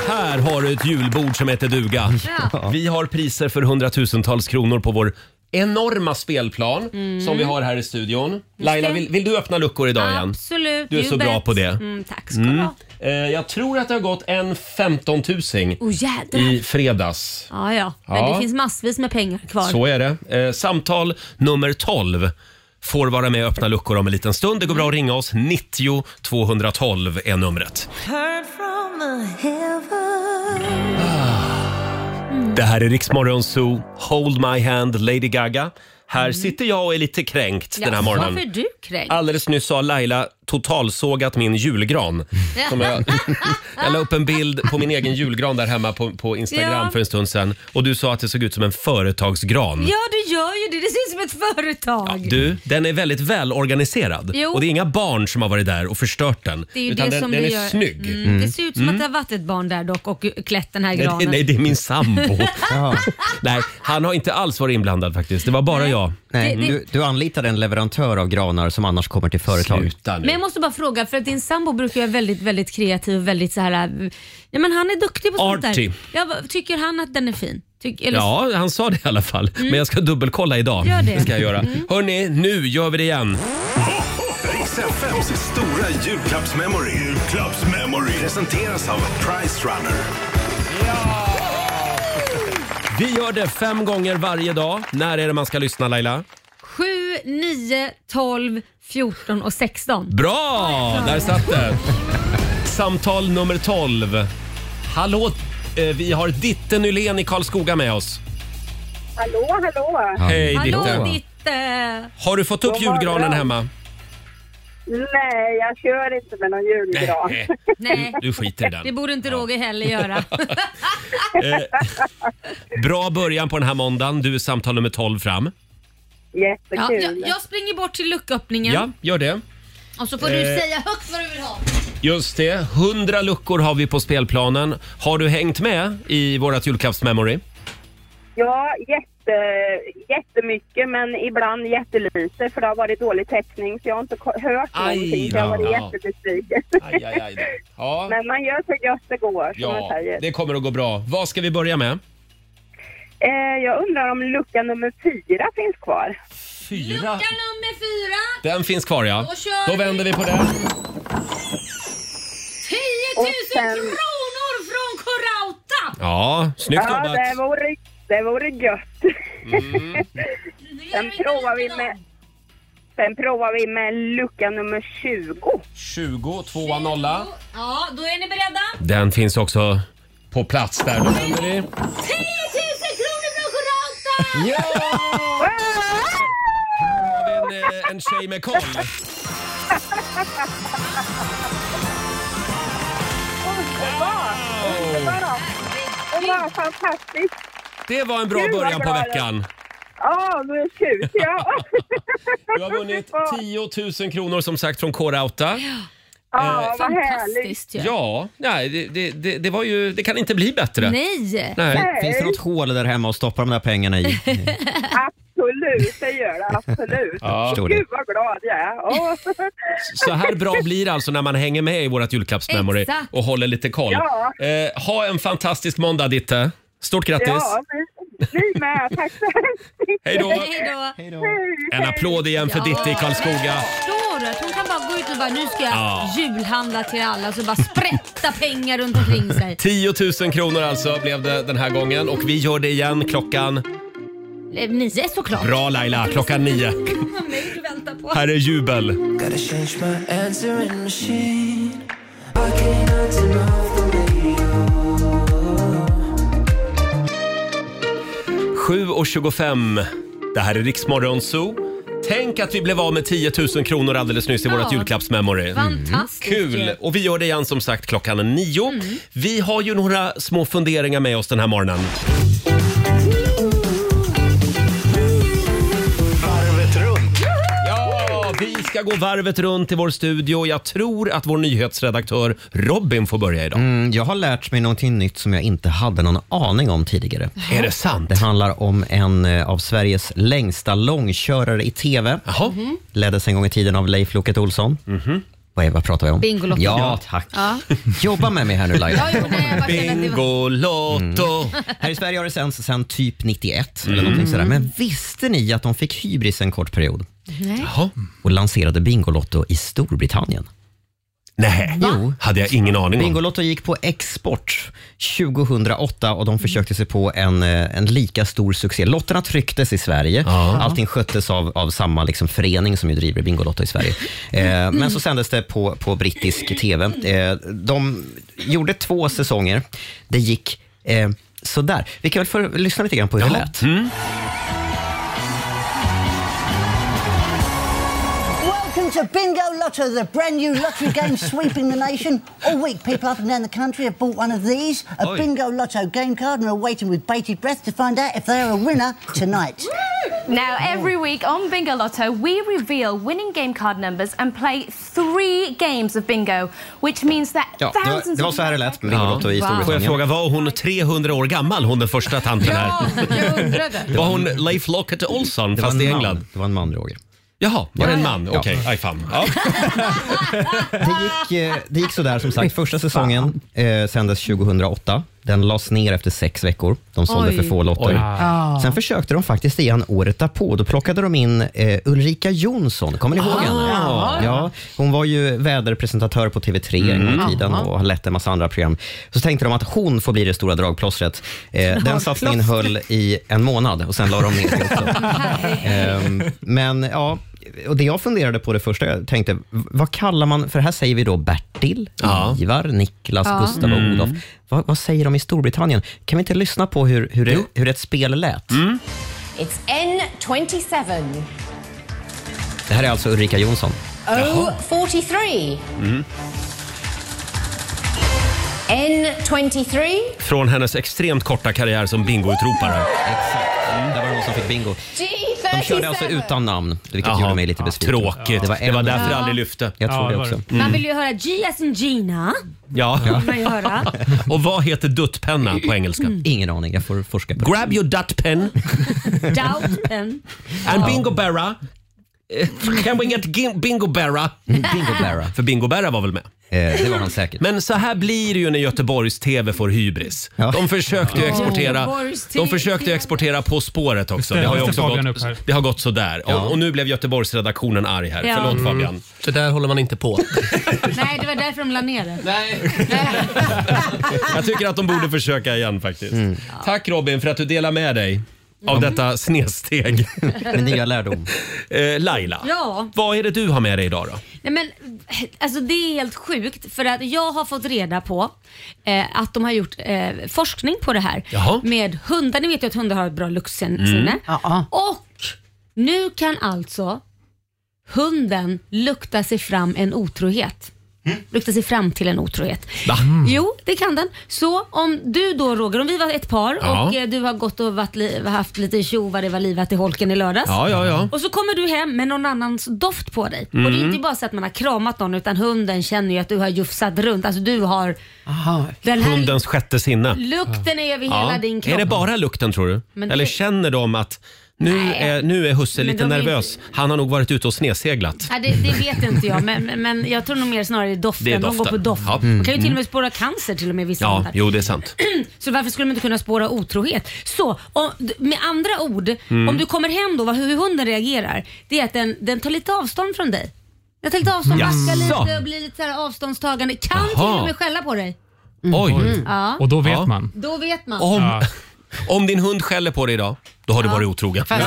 [SPEAKER 1] Här har du ett julbord som heter duga.
[SPEAKER 11] Ja.
[SPEAKER 1] Vi har priser för hundratusentals kronor på vår enorma spelplan
[SPEAKER 2] Mm.
[SPEAKER 1] som vi har här i studion. Laila, vill, vill du öppna luckor idag igen?
[SPEAKER 2] Absolut.
[SPEAKER 1] Du är
[SPEAKER 2] you
[SPEAKER 1] så bra
[SPEAKER 2] bet.
[SPEAKER 1] på det.
[SPEAKER 2] Mm, tack.
[SPEAKER 1] Mm. Eh, Jag tror att det har gått en 15 000
[SPEAKER 2] Oh, jädrar.
[SPEAKER 1] i fredags.
[SPEAKER 2] Ja, ja. Men
[SPEAKER 1] Ja.
[SPEAKER 2] det finns massvis med pengar kvar.
[SPEAKER 1] Så är det. Eh, samtal nummer 12 får vara med och öppna luckor om en liten stund. Det går bra att ringa oss. 90 212 är numret.
[SPEAKER 11] Heard from the heaven.
[SPEAKER 1] Det här är Riksmorgon Zoo, Hold My Hand, Lady Gaga. Här sitter jag och är lite kränkt den här
[SPEAKER 2] Mm. Ja,
[SPEAKER 1] morgonen.
[SPEAKER 2] Varför är du kränkt?
[SPEAKER 1] Alldeles nyss sa Laila totalsågat min julgran. Som jag, jag la upp en bild på min egen julgran där hemma på, på Instagram
[SPEAKER 2] Ja.
[SPEAKER 1] för en stund sedan. Och du sa att det såg ut som en företagsgran.
[SPEAKER 2] Ja, du gör ju det. Det ser ut som ett företag.
[SPEAKER 1] Du, den är väldigt välorganiserad.
[SPEAKER 2] Jo.
[SPEAKER 1] Och det är inga barn som har varit där och förstört den.
[SPEAKER 2] Det är ju
[SPEAKER 1] utan
[SPEAKER 2] det
[SPEAKER 1] den,
[SPEAKER 2] som
[SPEAKER 1] den
[SPEAKER 2] det
[SPEAKER 1] är
[SPEAKER 2] gör.
[SPEAKER 1] snygg.
[SPEAKER 2] Mm. Det ser ut som att det har varit ett barn där dock och klätt den här
[SPEAKER 1] Nej,
[SPEAKER 2] granen.
[SPEAKER 1] det, nej, det är min sambo. nej, han har inte alls varit inblandad faktiskt. Det var bara jag.
[SPEAKER 6] Nej,
[SPEAKER 2] Det- det-
[SPEAKER 6] Du, du anlitar en leverantör av granar som annars kommer till företag.
[SPEAKER 1] Sluta
[SPEAKER 2] Men jag måste bara fråga, för att din sambo brukar ju vara väldigt, väldigt kreativ och väldigt så här... äh, Ja, men han är duktig på sånt
[SPEAKER 1] Arty.
[SPEAKER 2] där. Ja, vad- tycker han att den är fin? Tyck, eller,
[SPEAKER 1] Ja, han sa det i alla fall.
[SPEAKER 2] Mm.
[SPEAKER 1] Men jag ska dubbelkolla idag.
[SPEAKER 2] Gör det.
[SPEAKER 1] ska jag göra.
[SPEAKER 2] Mm.
[SPEAKER 1] Hörni, nu gör vi det igen.
[SPEAKER 3] Riks FMs stora julklappsmemory. Julklappsmemory. Presenteras av Price Runner.
[SPEAKER 1] Vi gör det fem gånger varje dag. När är det man ska lyssna Laila?
[SPEAKER 2] 7, 9, 12, 14 och 16.
[SPEAKER 1] Bra! Där satt det. Samtal nummer 12. Hallå, eh, vi har Ditte Nylén i Karlskoga med oss.
[SPEAKER 4] Hallå, hallå!
[SPEAKER 1] Hej,
[SPEAKER 2] Hallå
[SPEAKER 1] Ditte.
[SPEAKER 2] Ditte!
[SPEAKER 1] Har du fått upp
[SPEAKER 4] God morgon.
[SPEAKER 1] julgranen hemma?
[SPEAKER 4] Nej, jag kör inte med någon julgran.
[SPEAKER 1] Nej.
[SPEAKER 2] Nej,
[SPEAKER 1] Du skiter i den.
[SPEAKER 2] det borde inte Roger heller göra.
[SPEAKER 1] Eh, bra början på den här måndagen. Du är samtal nummer 12 fram.
[SPEAKER 2] Ja,
[SPEAKER 4] Jättekul.
[SPEAKER 2] jag, jag springer bort till lucköppningen
[SPEAKER 1] Ja, gör det.
[SPEAKER 2] och så får du
[SPEAKER 1] Eh.
[SPEAKER 2] säga högt vad du vill ha.
[SPEAKER 1] Just det. 100 luckor har vi på spelplanen. Har du hängt med i vårat julklappsmemory?
[SPEAKER 4] Ja, jätte, jättemycket men ibland jättelite för det har varit dålig täckning så jag har inte ko- hört
[SPEAKER 1] Aj,
[SPEAKER 4] någonting. Så jag har
[SPEAKER 1] ja.
[SPEAKER 4] varit jättebesviken.
[SPEAKER 1] Aj, aj, aj. Ja.
[SPEAKER 4] Men man gör så gott det går som man
[SPEAKER 1] Ja,
[SPEAKER 4] säger.
[SPEAKER 1] det kommer att gå bra. Vad ska vi börja med?
[SPEAKER 4] Eh, jag undrar om lucka nummer fyra finns kvar.
[SPEAKER 1] Fyra.
[SPEAKER 2] Lucka nummer fyra,
[SPEAKER 1] Den finns kvar ja.
[SPEAKER 2] Då kör
[SPEAKER 1] Då vänder vi på den.
[SPEAKER 2] 10 000 kronor från Korauta!
[SPEAKER 1] Ja, snyggt
[SPEAKER 4] ja,
[SPEAKER 1] jobbat.
[SPEAKER 4] Det vore, det vore gött.
[SPEAKER 1] Mm.
[SPEAKER 4] sen provar vi med... Sen provar vi med lucka nummer 20.
[SPEAKER 1] 20, 2 nolla.
[SPEAKER 2] Ja, då är ni beredda?
[SPEAKER 1] Den finns också på plats där. Då vänder vi.
[SPEAKER 2] 10 000 kronor från Korauta!
[SPEAKER 1] Ja! Här har vi en, eh, en tjej med koll.
[SPEAKER 4] Underbart! Underbart! Det var fantastiskt.
[SPEAKER 1] Det var en bra
[SPEAKER 4] Gud, vad
[SPEAKER 1] början på
[SPEAKER 4] bra det.
[SPEAKER 1] veckan.
[SPEAKER 4] Ja, nu tjuter jag.
[SPEAKER 1] Du har vunnit 10 000 kronor som sagt från K-Rauta.
[SPEAKER 4] Ja,
[SPEAKER 1] Eh,
[SPEAKER 4] vad
[SPEAKER 2] Fantastiskt ju.
[SPEAKER 1] Ja, nej, det, det, det, det, var ju, det kan inte bli bättre.
[SPEAKER 2] Nej!
[SPEAKER 6] Fin- Finns det något hål där hemma att stoppa de där pengarna i?
[SPEAKER 4] Absolut, det gör det. Absolut.
[SPEAKER 1] Ja. Förstår det.
[SPEAKER 4] Gud vad glad jag är. Åh.
[SPEAKER 1] Så här bra blir det alltså när man hänger med i vårt julklappsmemory
[SPEAKER 4] Exakt.
[SPEAKER 1] och håller lite koll.
[SPEAKER 4] Ja.
[SPEAKER 1] Eh, ha en fantastisk måndag Ditte. Stort grattis!
[SPEAKER 4] Ja, ni- ni med. Tack så hemskt mycket.
[SPEAKER 1] Hej då.
[SPEAKER 2] Hej
[SPEAKER 4] då.
[SPEAKER 1] En applåd igen för
[SPEAKER 2] Ja.
[SPEAKER 1] Ditte i Karlskoga.
[SPEAKER 2] Förstår du? Att hon kan bara gå ut och bara nu ska jag
[SPEAKER 1] Ja.
[SPEAKER 2] julhandla till alla så bara sprätta pengar runt omkring sig.
[SPEAKER 1] 10 000 kronor alltså blev det den här gången och vi gör det igen klockan...
[SPEAKER 2] Eh, Nio såklart.
[SPEAKER 1] Bra Laila, klockan nio.
[SPEAKER 2] Mig du väntar på.
[SPEAKER 1] Här är jubel.
[SPEAKER 8] Gotta change my answering machine. I can't answer now for me.
[SPEAKER 1] 7.25. Det här är Riksmorgon Zoo. Tänk att vi blev av med 10 000 kronor alldeles nyss i
[SPEAKER 2] Ja.
[SPEAKER 1] vårt julklappsmemory. Mm.
[SPEAKER 2] Fantastiskt.
[SPEAKER 1] Kul! Och vi gör det igen som sagt klockan nio. Vi har ju några små funderingar med oss den här morgonen.
[SPEAKER 3] Varvet runt.
[SPEAKER 1] Ja, vi ska gå varvet runt i vår studio. Jag tror att vår nyhetsredaktör Robin får börja idag.
[SPEAKER 6] Mm, jag har lärt mig någonting nytt som jag inte hade någon aning om tidigare.
[SPEAKER 1] Är det sant?
[SPEAKER 6] Det handlar om en eh, av Sveriges längsta långkörare i TV. Leddes en gång i tiden av Leif Loket Olsson. Vad, är, vad pratar vi om?
[SPEAKER 2] Bingolotto.
[SPEAKER 6] Ja, tack.
[SPEAKER 2] Ja.
[SPEAKER 6] Jobba med mig här nu Laila.
[SPEAKER 2] Ja, jo, nej, jag bara kände att det var-
[SPEAKER 1] Bingolotto.
[SPEAKER 6] Här i Sverige har det sänts sedan typ 91
[SPEAKER 2] Mm.
[SPEAKER 6] eller någonting sådär. Men visste ni att de fick hybris en kort period
[SPEAKER 2] Nej.
[SPEAKER 6] och lanserade Bingolotto i Storbritannien?
[SPEAKER 1] Nej,
[SPEAKER 6] jo.
[SPEAKER 1] hade jag ingen aning om.
[SPEAKER 6] Bingolotto gick på export 2008 och de försökte sig på en, eh, en lika stor succé. Lotterna trycktes i Sverige. Allting sköttes av, av samma liksom förening som ju driver Bingolotto i Sverige. Eh, men så sändes det på, på brittisk TV. Eh, de gjorde två säsonger. Det gick eh, sådär. Vi kan väl få lyssna lite grann på hur det lät.
[SPEAKER 12] Welcome Welcome to Bingo Lotto, the brand new lottery game sweeping the nation. All week, people up and down the country have bought one of these, a
[SPEAKER 11] Oi.
[SPEAKER 12] Bingo Lotto game card, and are waiting with bated breath to find out if they are a winner tonight.
[SPEAKER 13] Now, every week on Bingo Lotto, we reveal winning game card numbers and play three games of bingo, which means that
[SPEAKER 6] Ja, det var,
[SPEAKER 13] thousands
[SPEAKER 6] det var
[SPEAKER 13] of...
[SPEAKER 6] så här det lät med Bingolotto i
[SPEAKER 13] Wow.
[SPEAKER 6] Storbritannien.
[SPEAKER 1] Får jag fråga,
[SPEAKER 6] var hon 300 år gammal, hon den första tanten
[SPEAKER 1] här?
[SPEAKER 13] jag undrade.
[SPEAKER 1] Var hon Leif Locket Olsson
[SPEAKER 6] Det var
[SPEAKER 1] fast i
[SPEAKER 6] en man.
[SPEAKER 1] England?
[SPEAKER 6] Det var en man, Roger.
[SPEAKER 1] Jaha, var det en man?
[SPEAKER 6] Ja.
[SPEAKER 1] Okej, aj fan. Ja.
[SPEAKER 6] Det gick, eh, det gick sådär som sagt. Första säsongen eh, sändes 2008. Den lades ner efter sex veckor. De sålde
[SPEAKER 1] Oj.
[SPEAKER 6] för få
[SPEAKER 1] Oj.
[SPEAKER 6] lotter.
[SPEAKER 1] Ah.
[SPEAKER 6] Sen försökte de faktiskt igen året därpå. Då plockade de in eh, Ulrika Jonsson. Kommer ni ihåg
[SPEAKER 1] Ah.
[SPEAKER 6] henne? Ja, hon var ju väderpresentatör på TV3 en gång i tiden
[SPEAKER 1] Jaha.
[SPEAKER 6] och har lett en massa andra program. Så tänkte de att hon får bli det stora dragplåstret. Eh, den satsningen höll i en månad och sen la de ner det också. Ehm, men ja, och det jag funderade på det första jag tänkte, v- vad kallar man, för här säger vi då Bertil, Ivar, Niklas,
[SPEAKER 1] Ja.
[SPEAKER 6] Gustav och
[SPEAKER 1] Mm.
[SPEAKER 6] Olof. Vad, vad säger de i Storbritannien? Kan vi inte lyssna på hur, hur, det, hur ett spel lät?
[SPEAKER 1] Mm.
[SPEAKER 14] It's N27.
[SPEAKER 6] Det här är alltså Ulrika Jonsson.
[SPEAKER 14] O43. N23.
[SPEAKER 1] Från hennes extremt korta karriär som bingoutropare.
[SPEAKER 6] Exakt, där var det någon som fick bingo.
[SPEAKER 14] G37.
[SPEAKER 6] De körde alltså utan namn, vilket
[SPEAKER 1] Jaha.
[SPEAKER 6] gjorde mig lite besviken.
[SPEAKER 1] Tråkigt. Det var därför det aldrig lyfte.
[SPEAKER 6] Jag tror
[SPEAKER 1] Ja,
[SPEAKER 6] det
[SPEAKER 1] det var
[SPEAKER 6] också.
[SPEAKER 1] det. Mm.
[SPEAKER 2] Man vill ju höra Gia som Gina.
[SPEAKER 1] Ja.
[SPEAKER 2] Vill man ju höra.
[SPEAKER 1] Och vad heter duttpenna på engelska?
[SPEAKER 6] Ingen aning, jag får forska på
[SPEAKER 1] Grab your duttpen
[SPEAKER 2] Doubten.
[SPEAKER 1] and bingo berra. Eh, Can we get gi- bingo berra?
[SPEAKER 6] Bingo berra.
[SPEAKER 1] För bingo berra var väl med?
[SPEAKER 6] det var han säkert.
[SPEAKER 1] Men så här blir det ju när Göteborgs-TV får hybris. De försökte ju
[SPEAKER 6] Ja.
[SPEAKER 1] exportera,
[SPEAKER 6] Göteborgs-TV.
[SPEAKER 1] de försökte ju exportera På spåret också. Det har ju
[SPEAKER 7] Ställde
[SPEAKER 1] också
[SPEAKER 7] Fabian
[SPEAKER 1] gått,
[SPEAKER 7] upp här.
[SPEAKER 1] det har gått sådär. Och, och nu blev Göteborgsredaktionen arg här.
[SPEAKER 2] Ja.
[SPEAKER 1] Förlåt
[SPEAKER 2] Mm.
[SPEAKER 1] Fabian. Det där håller man inte på.
[SPEAKER 2] Nej, det var därför de la ner det.
[SPEAKER 1] Nej. Jag tycker att de borde försöka igen faktiskt.
[SPEAKER 6] Mm.
[SPEAKER 1] Tack Robin för att du delar med dig av detta snedsteg.
[SPEAKER 6] Med nya lärdom.
[SPEAKER 1] Eh, Laila,
[SPEAKER 2] Ja.
[SPEAKER 1] vad är det du har med dig idag då?
[SPEAKER 2] Nej, men, alltså, det är helt sjukt för att jag har fått reda på eh, att de har gjort eh, forskning på det här
[SPEAKER 11] Jaha.
[SPEAKER 2] med hundar. Ni vet ju att hundar har ett bra luktsinne.
[SPEAKER 11] Mm.
[SPEAKER 2] Och nu kan alltså hunden lukta sig fram en otrohet. Lukta sig fram till en otrohet.
[SPEAKER 11] Va?
[SPEAKER 1] Mm.
[SPEAKER 2] Jo, det kan den. Så om du då Roger, om vi var ett par
[SPEAKER 11] Ja.
[SPEAKER 2] och eh, du har gått och varit li- haft lite tjo vad det var livat i holken i lördags.
[SPEAKER 11] Ja, ja, ja.
[SPEAKER 2] Och så kommer du hem med någon annans doft på dig. Och det är
[SPEAKER 11] Mm.
[SPEAKER 2] inte bara så att man har kramat någon utan hunden känner ju att du har jufsat runt. Alltså du har den här
[SPEAKER 1] Hundens sjätte sinne.
[SPEAKER 2] lukten är över hela din kropp.
[SPEAKER 1] Är det bara lukten tror du?
[SPEAKER 2] Men det-
[SPEAKER 1] Eller känner de att nu är, nu är husse
[SPEAKER 2] Men
[SPEAKER 1] lite
[SPEAKER 2] de är
[SPEAKER 1] nervös. Han har nog varit ute och sneseglat.
[SPEAKER 2] Nej, det, det vet inte jag, men, men jag tror nog mer snarare doften.
[SPEAKER 1] Det är
[SPEAKER 2] De går på
[SPEAKER 1] doften.
[SPEAKER 2] doft.
[SPEAKER 1] Ja.
[SPEAKER 2] De kan ju till och
[SPEAKER 1] Mm.
[SPEAKER 2] med spåra cancer till och med vissa
[SPEAKER 1] Ja,
[SPEAKER 2] hundar.
[SPEAKER 1] jo det är sant.
[SPEAKER 2] Så varför skulle de inte kunna spåra otrohet? Så om, med andra ord,
[SPEAKER 1] Mm.
[SPEAKER 2] om du kommer hem då, vad, hur hunden reagerar, det är att den, den tar lite avstånd från dig. Den tar lite avstånd,
[SPEAKER 7] Jaså?
[SPEAKER 2] backar lite och blir lite så här avståndstagande. Kan
[SPEAKER 1] Jaha.
[SPEAKER 2] till och med skälla på dig. Mm.
[SPEAKER 1] Oj.
[SPEAKER 2] Ja.
[SPEAKER 1] Och då vet man.
[SPEAKER 2] Då vet man.
[SPEAKER 1] Om, om din hund skäller på dig idag, då har du
[SPEAKER 5] Ja.
[SPEAKER 1] varit otrogen.
[SPEAKER 5] Fast,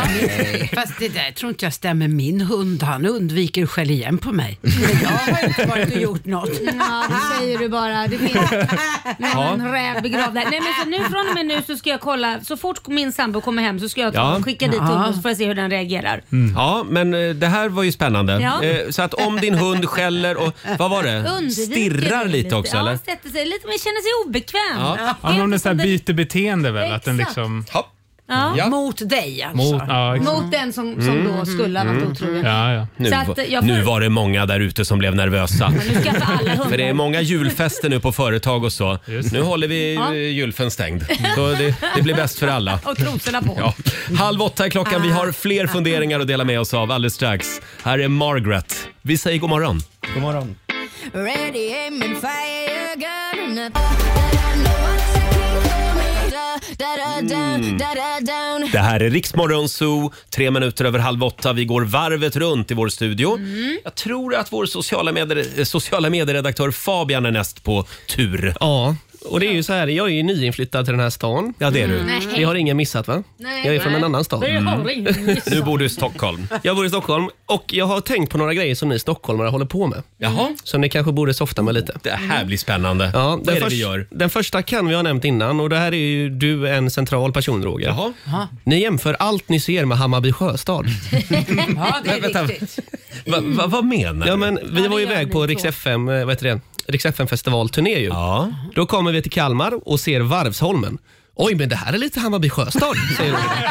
[SPEAKER 5] fast det där tror inte jag stämmer. Min hund, han undviker att skälla igen på mig. Men jag har inte varit och gjort något.
[SPEAKER 2] Ja, det säger du bara. Det finns
[SPEAKER 5] Ja.
[SPEAKER 2] ja. en räv begravd där. Nej, men så nu, från och med nu så ska jag kolla. Så fort min sambo kommer hem så ska jag ta
[SPEAKER 1] Ja.
[SPEAKER 2] och skicka dit
[SPEAKER 1] Ja.
[SPEAKER 2] honom så får jag se hur den reagerar.
[SPEAKER 1] Ja, men eh, det här var ju spännande.
[SPEAKER 2] Ja.
[SPEAKER 1] Eh, Så att om din hund skäller och vad var det?
[SPEAKER 2] Undviker
[SPEAKER 1] Stirrar lite också
[SPEAKER 2] ja,
[SPEAKER 1] eller?
[SPEAKER 2] sätter sig lite men känner sig obekväm.
[SPEAKER 7] Ja.
[SPEAKER 2] Det är
[SPEAKER 7] men
[SPEAKER 2] inte
[SPEAKER 7] om den så här
[SPEAKER 2] som den-
[SPEAKER 7] byter beteende väl? Att den
[SPEAKER 2] Exakt.
[SPEAKER 7] liksom...
[SPEAKER 2] Ja.
[SPEAKER 7] Ja.
[SPEAKER 5] Mot dig alltså.
[SPEAKER 7] Mot, ja, exakt.
[SPEAKER 1] Liksom.
[SPEAKER 2] Mot den som, som
[SPEAKER 1] Mm.
[SPEAKER 2] då skulle ha varit otrogen.
[SPEAKER 1] Ja, ja. Nu,
[SPEAKER 2] Så att,
[SPEAKER 1] va-
[SPEAKER 2] jag får-
[SPEAKER 1] nu var det många där ute som blev nervösa.
[SPEAKER 2] Nu skaffar alla hundar.
[SPEAKER 1] För det är många julfester nu på företag och så. Nu håller vi
[SPEAKER 2] Ja.
[SPEAKER 1] ja. julfen stängd. Så det, det blir bäst för alla.
[SPEAKER 2] Och trosorna på.
[SPEAKER 1] Ja. Halv åtta är klockan. Vi har
[SPEAKER 5] Ah.
[SPEAKER 1] fler funderingar att dela med oss av alldeles strax. Här är Margaret. Vi säger god morgon. God morgon.
[SPEAKER 11] Ready, aim and fire, gun
[SPEAKER 1] Mm.
[SPEAKER 11] and
[SPEAKER 1] Det här är Riksmorgon Zoo, tre minuter över halv åtta. Vi går varvet runt i vår studio.
[SPEAKER 5] Mm.
[SPEAKER 1] Jag tror att vår sociala, medier, eh, sociala medieredaktör Fabian är näst på tur.
[SPEAKER 15] Ja,
[SPEAKER 7] Och det är ju så här, jag är ju nyinflyttad till den här stan.
[SPEAKER 1] Ja, det är du.
[SPEAKER 2] Mm. Nej.
[SPEAKER 7] Det har ingen missat va?
[SPEAKER 2] Nej.
[SPEAKER 7] jag är från en annan stad.
[SPEAKER 2] Det har ingen missat. Nu
[SPEAKER 1] bor Mm. du i Stockholm.
[SPEAKER 7] Jag bor i Stockholm och jag har tänkt på några grejer som ni stockholmare håller på med.
[SPEAKER 1] Jaha.
[SPEAKER 7] Som ni kanske borde softa med lite.
[SPEAKER 1] Det här blir spännande.
[SPEAKER 7] Mm. Ja,
[SPEAKER 1] Vad
[SPEAKER 7] den
[SPEAKER 1] är det vi
[SPEAKER 7] förs-
[SPEAKER 1] gör?
[SPEAKER 7] Den första kan vi ha nämnt innan och det här är ju du en central person Roger.
[SPEAKER 1] Jaha.
[SPEAKER 5] Ja,
[SPEAKER 7] Ni jämför allt ni ser med Hammarby Sjöstad.
[SPEAKER 5] ja det är
[SPEAKER 1] Vänta.
[SPEAKER 5] riktigt.
[SPEAKER 1] Va, va, vad menar
[SPEAKER 7] Ja, men vi var ju iväg på Rix FM, eh, vad heter det? Rix FM festivalturné ju. Då kommer vi till Kalmar och ser Varvsholmen. Oj, men det här är lite Hammarby Sjöstad, säger Roger.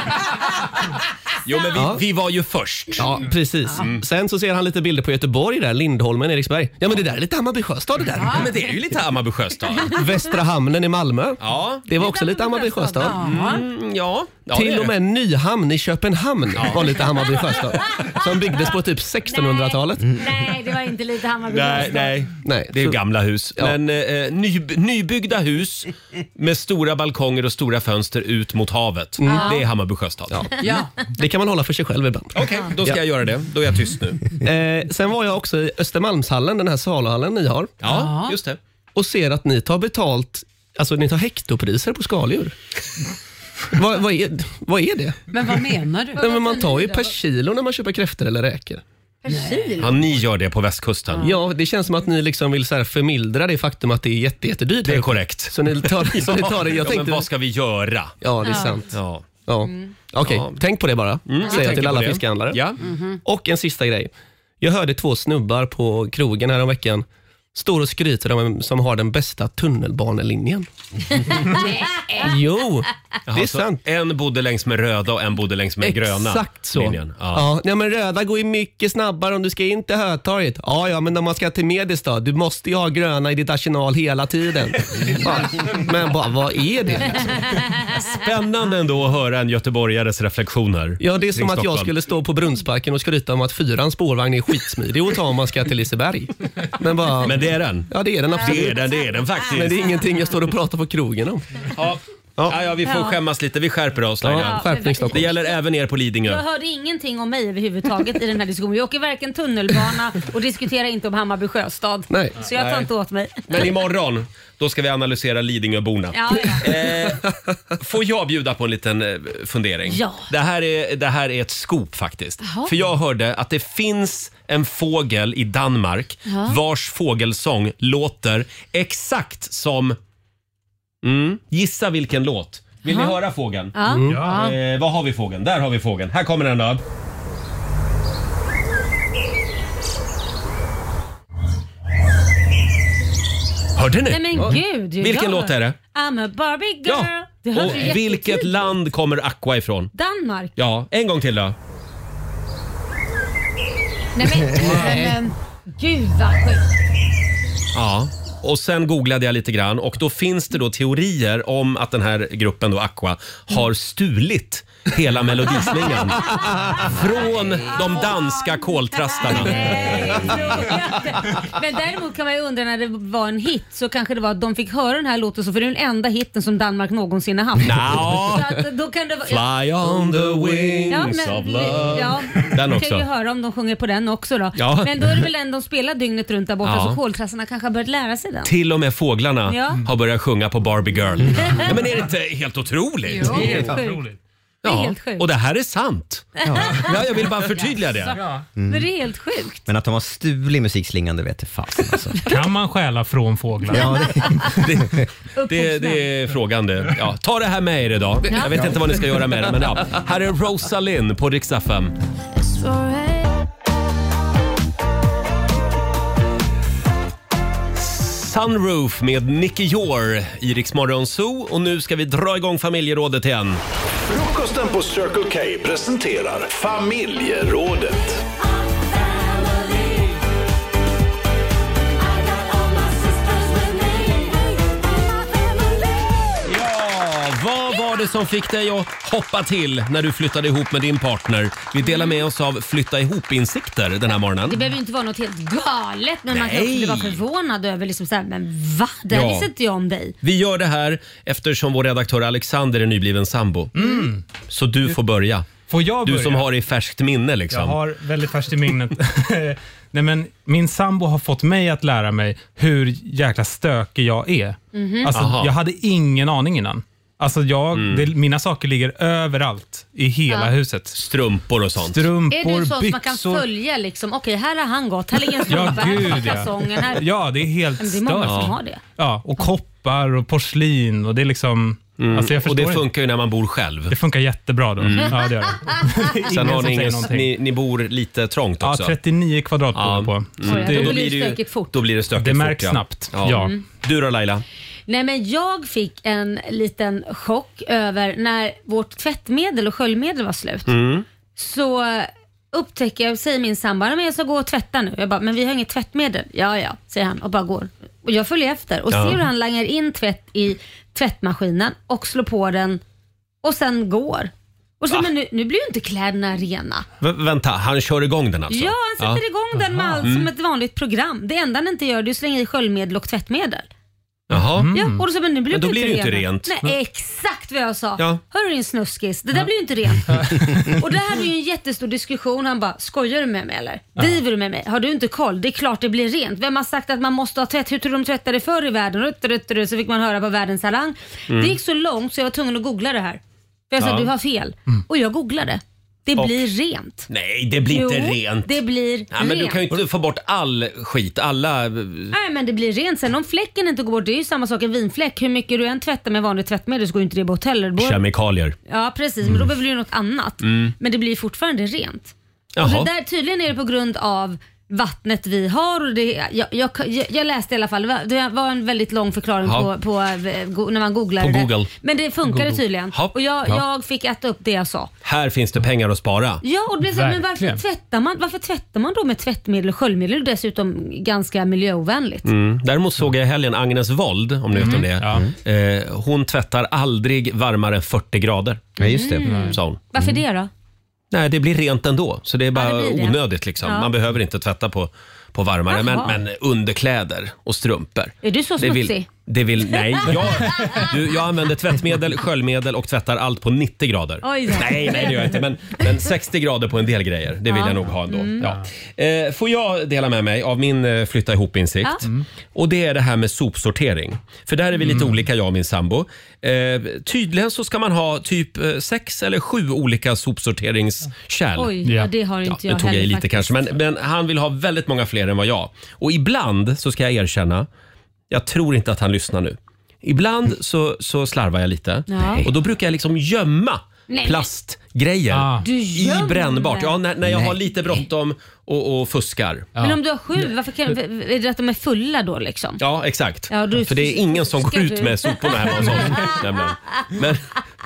[SPEAKER 1] Jo, men vi, vi var ju först.
[SPEAKER 7] Ja, precis.
[SPEAKER 1] Mm.
[SPEAKER 7] Sen så ser han lite bilder på Göteborg där, Lindholmen, Eriksberg. Ja, men det där är lite Hammarby Sjöstad det där.
[SPEAKER 1] Ja, men det är ju lite Hammarby Sjöstad.
[SPEAKER 7] Västra hamnen i Malmö.
[SPEAKER 1] Ja.
[SPEAKER 7] Det var också lite Hammarby Sjöstad.
[SPEAKER 1] Mm, ja. ja, det är
[SPEAKER 7] Till och
[SPEAKER 1] det.
[SPEAKER 7] med Nyhamn i Köpenhamn var lite Hammarby Sjöstad. Som byggdes på typ 1600-talet.
[SPEAKER 2] Nej, det var inte lite Hammarby
[SPEAKER 1] Nej,
[SPEAKER 2] Sjöstad.
[SPEAKER 1] nej.
[SPEAKER 7] nej.
[SPEAKER 1] Det är ju gamla hus.
[SPEAKER 7] Ja.
[SPEAKER 1] Men eh, ny, nybyggda hus med stora balkonger och stora fönster ut mot havet.
[SPEAKER 7] Mm.
[SPEAKER 1] Det är Hammarby Sjöstad.
[SPEAKER 5] Ja.
[SPEAKER 7] Det kan man hålla för sig själv ibland.
[SPEAKER 1] Okej, då ska jag göra det. Då är jag tyst nu.
[SPEAKER 7] Eh, sen var jag också i Östermalmshallen, den här saluhallen ni har.
[SPEAKER 1] Ja, just det.
[SPEAKER 7] Och ser att ni tar betalt, alltså ni tar hektopriser på skaldjur. vad, vad, är, vad är det?
[SPEAKER 5] Men vad menar du?
[SPEAKER 7] Nej, men man tar ju per kilo när man köper kräftor eller räkor.
[SPEAKER 1] Ja, ni gör det på västkusten.
[SPEAKER 7] Ja, det känns som att ni liksom vill så här förmildra det faktum att det är jätte, jättedyrt.
[SPEAKER 1] Det är korrekt.
[SPEAKER 7] Så ni tar, så ni tar det. Jag
[SPEAKER 1] ja, men
[SPEAKER 7] tänkte,
[SPEAKER 1] vad ska vi göra?
[SPEAKER 7] ja, det
[SPEAKER 1] Ja.
[SPEAKER 7] är sant.
[SPEAKER 1] Ja.
[SPEAKER 7] Ja. Okej, tänk på det bara,
[SPEAKER 1] Mm, jag
[SPEAKER 7] säger jag
[SPEAKER 1] tänker
[SPEAKER 7] till
[SPEAKER 1] på
[SPEAKER 7] alla Mhm.
[SPEAKER 1] det.
[SPEAKER 7] fiskhandlare.
[SPEAKER 1] Ja.
[SPEAKER 7] Och en sista grej. Jag hörde två snubbar på krogen häromveckan står och skryter om vem som har den bästa tunnelbanelinjen. Jo,
[SPEAKER 1] Jaha,
[SPEAKER 7] det är
[SPEAKER 1] så
[SPEAKER 7] sant.
[SPEAKER 1] En bodde längs med röda och en bodde längs med gröna
[SPEAKER 7] Exakt så.
[SPEAKER 1] linjen.
[SPEAKER 7] Ja. nej, men röda går ju mycket snabbare om du ska in till Hötorget. Ja, ja, men när man ska till Medestad, du måste ju ha gröna i ditt arsenal hela tiden. Ja, men bara, vad är det?
[SPEAKER 1] Spännande ändå att höra en göteborgares reflektioner.
[SPEAKER 7] Ja, det är som
[SPEAKER 1] kring
[SPEAKER 7] att jag
[SPEAKER 1] Stockholm.
[SPEAKER 7] skulle stå på Brunnsbacken och skryta om att fyran spårvagn är skitsmidig att ta om man ska till Liseberg. Men, bara,
[SPEAKER 1] Men det är den.
[SPEAKER 7] Ja, det är den absolut.
[SPEAKER 1] Det är den, det är den faktiskt.
[SPEAKER 7] Men det är ingenting jag står och pratar på krogen om.
[SPEAKER 1] Ja. Ja, ja, vi får
[SPEAKER 2] Ja.
[SPEAKER 1] skämmas lite. Vi skärper oss.
[SPEAKER 7] Ja,
[SPEAKER 1] Laila.
[SPEAKER 7] skärpning,
[SPEAKER 1] det
[SPEAKER 7] Stockholm.
[SPEAKER 1] gäller även er på Lidingö.
[SPEAKER 2] Jag hörde ingenting om mig överhuvudtaget i den här diskussionen. Jag åker varken tunnelbana och diskuterar inte om Hammarby Sjöstad.
[SPEAKER 1] Nej.
[SPEAKER 2] Så jag tar
[SPEAKER 1] Nej.
[SPEAKER 2] inte åt mig.
[SPEAKER 1] Men imorgon, då ska vi analysera Lidingöborna.
[SPEAKER 2] Ja, ja.
[SPEAKER 1] Eh, får jag bjuda på en liten eh, fundering?
[SPEAKER 2] Ja.
[SPEAKER 1] Det, här är, det här är ett scoop faktiskt.
[SPEAKER 2] Jaha.
[SPEAKER 1] För jag hörde att det finns en fågel i Danmark
[SPEAKER 2] Ja.
[SPEAKER 1] vars fågelsång låter exakt som... Mm, gissa vilken låt? Vill ni
[SPEAKER 2] Jaha.
[SPEAKER 1] höra fågeln?
[SPEAKER 2] Ja. Mm. Ja.
[SPEAKER 1] Eh, vad har vi fågeln? Där har vi fågeln. Här kommer den då. Hörde ni?
[SPEAKER 2] Nej men gud. ju
[SPEAKER 1] Vilken
[SPEAKER 2] jag-
[SPEAKER 1] låt är det?
[SPEAKER 2] I'm a Barbie girl.
[SPEAKER 1] Ja.
[SPEAKER 2] Det hörde
[SPEAKER 1] Och
[SPEAKER 2] du jättetydligt.
[SPEAKER 1] vilket land kommer Aqua ifrån?
[SPEAKER 2] Danmark.
[SPEAKER 1] Ja, en gång till då.
[SPEAKER 2] Nej men,
[SPEAKER 1] Nej.
[SPEAKER 2] men gud vad sjukt.
[SPEAKER 1] Ja. Och sen googlade jag lite grann och då finns det då teorier om att den här gruppen då Aqua har stulit hela melodislingan från de danska koltrastarna.
[SPEAKER 2] Men däremot kan man ju undra när det var en hit så kanske det var att de fick höra den här låten så för det är den enda hiten som Danmark någonsin har haft.
[SPEAKER 1] Nja.
[SPEAKER 2] Så att då kan det vara...
[SPEAKER 1] Fly on the
[SPEAKER 2] Ja,
[SPEAKER 1] wings
[SPEAKER 2] men,
[SPEAKER 1] of love.
[SPEAKER 2] ja,
[SPEAKER 1] Den
[SPEAKER 2] vi
[SPEAKER 1] också.
[SPEAKER 2] kan ju höra om de sjunger på den också då.
[SPEAKER 1] Ja.
[SPEAKER 2] Men då är det väl den de spelar dygnet runt där borta
[SPEAKER 1] Ja.
[SPEAKER 2] så koltrassarna kanske har börjat lära sig den.
[SPEAKER 1] Till och med fåglarna
[SPEAKER 2] Ja.
[SPEAKER 1] har börjat sjunga på Barbie Girl. Ja, men är det inte helt otroligt?
[SPEAKER 2] Jo, det är helt sjukt. Det är helt sjukt.
[SPEAKER 1] Och det här är sant.
[SPEAKER 6] Ja.
[SPEAKER 1] Ja, jag vill bara förtydliga det.
[SPEAKER 2] Men det är helt sjukt.
[SPEAKER 6] Men att de har stulit musikslingan, det vet jag fasen alltså.
[SPEAKER 16] Kan man stjäla från fåglar?
[SPEAKER 6] Ja,
[SPEAKER 1] det, Det, det är frågan det. Ja, ta det här med er idag.
[SPEAKER 17] Ja.
[SPEAKER 1] Jag vet inte vad ni ska göra med det, men ja. Här är Rosalind på Rix FM. Sunroof med Nicky Jor i Rix Morgon Zoo. Och nu ska vi dra igång familjerådet igen.
[SPEAKER 8] Frukosten på Circle K presenterar familjerådet.
[SPEAKER 1] Ja, vad var det som fick dig att hoppa till när du flyttade ihop med din partner? Vi delar med oss av flytta ihop-insikter den här
[SPEAKER 2] Det
[SPEAKER 1] morgonen.
[SPEAKER 2] behöver ju inte vara något helt galet men man kan
[SPEAKER 1] Nej.
[SPEAKER 2] också bli bara förvånad över liksom så här, men va? Det här
[SPEAKER 1] Ja.
[SPEAKER 2] visste inte jag om dig.
[SPEAKER 1] Vi gör
[SPEAKER 2] Mm.
[SPEAKER 1] det här eftersom vår redaktör Alexander är nybliven sambo. Så du får börja.
[SPEAKER 7] Får jag
[SPEAKER 1] Du
[SPEAKER 7] börja?
[SPEAKER 1] som har det i färskt minne liksom.
[SPEAKER 7] Jag har väldigt färskt i minnet. Nej, men min sambo har fått mig att lära mig hur jäkla stökig jag är.
[SPEAKER 13] Mhm.
[SPEAKER 7] Alltså,
[SPEAKER 13] Aha.
[SPEAKER 7] jag hade ingen aning innan. Alltså jag,
[SPEAKER 1] Mm.
[SPEAKER 7] det, mina saker ligger överallt i hela
[SPEAKER 2] Ja.
[SPEAKER 7] huset.
[SPEAKER 1] Strumpor och sånt.
[SPEAKER 2] Är du
[SPEAKER 7] Strumpor,
[SPEAKER 2] sån som man kan
[SPEAKER 7] byxor.
[SPEAKER 2] följa liksom? Okej, här har han gått. Här ligger en
[SPEAKER 7] Ja,
[SPEAKER 2] strumpa. här
[SPEAKER 7] gud,
[SPEAKER 2] ligger
[SPEAKER 7] ja.
[SPEAKER 2] kalsongen. Här.
[SPEAKER 7] Ja, det är helt
[SPEAKER 2] Men det är många
[SPEAKER 7] stört.
[SPEAKER 2] som har det.
[SPEAKER 7] Ja, och koppar och porslin och det är liksom... Alltså jag
[SPEAKER 1] Mm. och det
[SPEAKER 7] förstår inte.
[SPEAKER 1] funkar ju när man bor själv.
[SPEAKER 7] Det funkar jättebra då.
[SPEAKER 1] Mm.
[SPEAKER 7] Ja, det gör det. Ingen
[SPEAKER 1] Sen har
[SPEAKER 7] som
[SPEAKER 1] ni,
[SPEAKER 7] säger
[SPEAKER 1] ingen,
[SPEAKER 7] någonting.
[SPEAKER 1] ni, ni bor lite trångt
[SPEAKER 7] Ja,
[SPEAKER 1] också.
[SPEAKER 7] 39 kvadrat bor vi på.
[SPEAKER 1] Mm.
[SPEAKER 7] Så
[SPEAKER 2] Oj, då blir det stökigt fort.
[SPEAKER 1] Då blir det stökigt
[SPEAKER 7] Det märks
[SPEAKER 1] fort, ja.
[SPEAKER 7] snabbt. Ja. Mm.
[SPEAKER 1] Du då Laila?
[SPEAKER 2] Nej, men jag fick en liten chock över när vårt tvättmedel och sköljmedel var slut. Så upptäcker jag, säger min sambo, "Ja, men jag ska gå och tvätta nu. Jag bara, men vi har inget tvättmedel. Ja, ja, säger han och bara går. Och jag följer efter och
[SPEAKER 11] Ja.
[SPEAKER 2] ser hur han langar in tvätt i tvättmaskinen och slår på den och sen går. Och så, men nu, nu blir ju inte kläderna rena.
[SPEAKER 1] V- vänta, han kör igång den alltså?
[SPEAKER 2] Ja, han sätter igång den med
[SPEAKER 1] Aha.
[SPEAKER 2] allt som ett vanligt program. Det enda han inte gör det är att slänga i sköljmedel och tvättmedel.
[SPEAKER 1] Jaha.
[SPEAKER 7] Mm.
[SPEAKER 2] Ja, och då, så, men nu blir
[SPEAKER 1] Men Mm. då
[SPEAKER 2] det inte
[SPEAKER 1] blir det ju inte
[SPEAKER 2] rent.
[SPEAKER 1] rent. Mm.
[SPEAKER 2] Nej, exakt vad jag sa.
[SPEAKER 1] Ja.
[SPEAKER 2] Hör du din snuskis, det där blir ju inte rent. och det här är ju en jättestor diskussion. Han bara, skojar du med mig eller? Driver du med mig? Har du inte koll? Det är klart det blir rent. Vem har sagt att man måste ha tvätt? Hur tror du de tvättade förr i världen? Rutt, rutt, rutt, Så fick man höra på Världens Harang.
[SPEAKER 11] Mm.
[SPEAKER 2] Det gick så långt så jag var tvungen att googla det här. För jag sa,
[SPEAKER 1] Ja. Mm.
[SPEAKER 2] du har fel. Och jag googlade. Det
[SPEAKER 1] Och-
[SPEAKER 2] blir rent.
[SPEAKER 1] Nej, det blir inte
[SPEAKER 2] Jo,
[SPEAKER 1] rent.
[SPEAKER 2] Det blir
[SPEAKER 1] Nej, men
[SPEAKER 2] rent.
[SPEAKER 1] du kan ju inte få bort all skit, alla...
[SPEAKER 2] Nej men det blir rent sen. Om fläcken inte går bort, det är ju samma sak en vinfläck. Hur mycket du än tvättar med vanligt tvättmedel så går ju inte det bort heller. Det går-
[SPEAKER 1] Kemikalier.
[SPEAKER 2] Ja precis, men då behöver du ju något annat.
[SPEAKER 1] Mm.
[SPEAKER 2] Men det blir fortfarande rent. Och
[SPEAKER 1] Jaha.
[SPEAKER 2] det där, tydligen är det på grund av vattnet vi har. Och det, jag, jag, jag, jag läste i alla fall, det var en väldigt lång förklaring
[SPEAKER 1] Ja.
[SPEAKER 2] på, på, eh, go- när man googlar
[SPEAKER 1] På
[SPEAKER 2] det.
[SPEAKER 1] Google.
[SPEAKER 2] Men det funkade
[SPEAKER 1] Google.
[SPEAKER 2] tydligen.
[SPEAKER 1] Ja.
[SPEAKER 2] Och jag,
[SPEAKER 1] Ja.
[SPEAKER 2] jag fick äta upp det jag sa.
[SPEAKER 1] Här finns det pengar att spara.
[SPEAKER 2] Ja, och det blir så, här, men varför
[SPEAKER 1] Verkligen.
[SPEAKER 2] tvättar, man, varför tvättar man då med tvättmedel och sköljmedel? Och dessutom ganska miljöovänligt.
[SPEAKER 1] Mm. Däremot såg jag i helgen Agnes Wold, om ni vet
[SPEAKER 2] Mm.
[SPEAKER 1] om det är. eh, Hon tvättar aldrig varmare än 40 grader.
[SPEAKER 2] Ja, just det. Mm.
[SPEAKER 1] Sa hon.
[SPEAKER 2] Varför det då?
[SPEAKER 1] Nej, det blir rent ändå. Så det är bara
[SPEAKER 2] det blir det.
[SPEAKER 1] onödigt liksom.
[SPEAKER 2] Ja.
[SPEAKER 1] Man behöver inte tvätta på, på varmare. Men,
[SPEAKER 2] Jaha.
[SPEAKER 1] men underkläder och strumpor.
[SPEAKER 2] Är du så
[SPEAKER 1] Det vill,
[SPEAKER 2] smutsig?
[SPEAKER 1] det vill, nej, jag, du, jag använder tvättmedel, sköljmedel och tvättar allt på 90 grader.
[SPEAKER 2] Oj då.
[SPEAKER 1] Nej, nej det gör jag inte. Men, men 60 grader på en del grejer, det vill
[SPEAKER 2] Ja.
[SPEAKER 1] jag nog ha ändå.
[SPEAKER 2] Mm.
[SPEAKER 1] Ja. Eh, får jag dela med mig av min eh, flytta ihop-insikt?
[SPEAKER 2] Ja. Mm.
[SPEAKER 1] Och det är det här med sopsortering. För där är vi lite olika jag och min sambo. Eh, tydligen så ska man ha typ eh, sex eller sju olika sopsorteringskärl.
[SPEAKER 2] Oj, ja. det har inte jag
[SPEAKER 1] Nu tog jag
[SPEAKER 2] heller
[SPEAKER 1] i lite
[SPEAKER 2] faktiskt.
[SPEAKER 1] kanske, men, men han vill ha väldigt många fler än vad jag. Och ibland så ska jag erkänna, jag tror inte att han lyssnar nu. Ibland så, så slarvar jag lite
[SPEAKER 11] Ja.
[SPEAKER 1] och då brukar jag liksom gömma
[SPEAKER 11] Nej.
[SPEAKER 1] plastgrejer
[SPEAKER 11] Du
[SPEAKER 1] i
[SPEAKER 11] gömmer?
[SPEAKER 1] brännbart. Ja, när, när jag
[SPEAKER 11] Nej.
[SPEAKER 1] har lite bråttom och, och fuskar.
[SPEAKER 2] Men om du har sju, varför kan, är det att de är fulla då liksom?
[SPEAKER 1] Ja, exakt.
[SPEAKER 2] Ja, du-
[SPEAKER 1] För det är ingen som går
[SPEAKER 2] Ska
[SPEAKER 1] ut
[SPEAKER 2] du?
[SPEAKER 1] med soporna hemma hos oss. nämligen. Men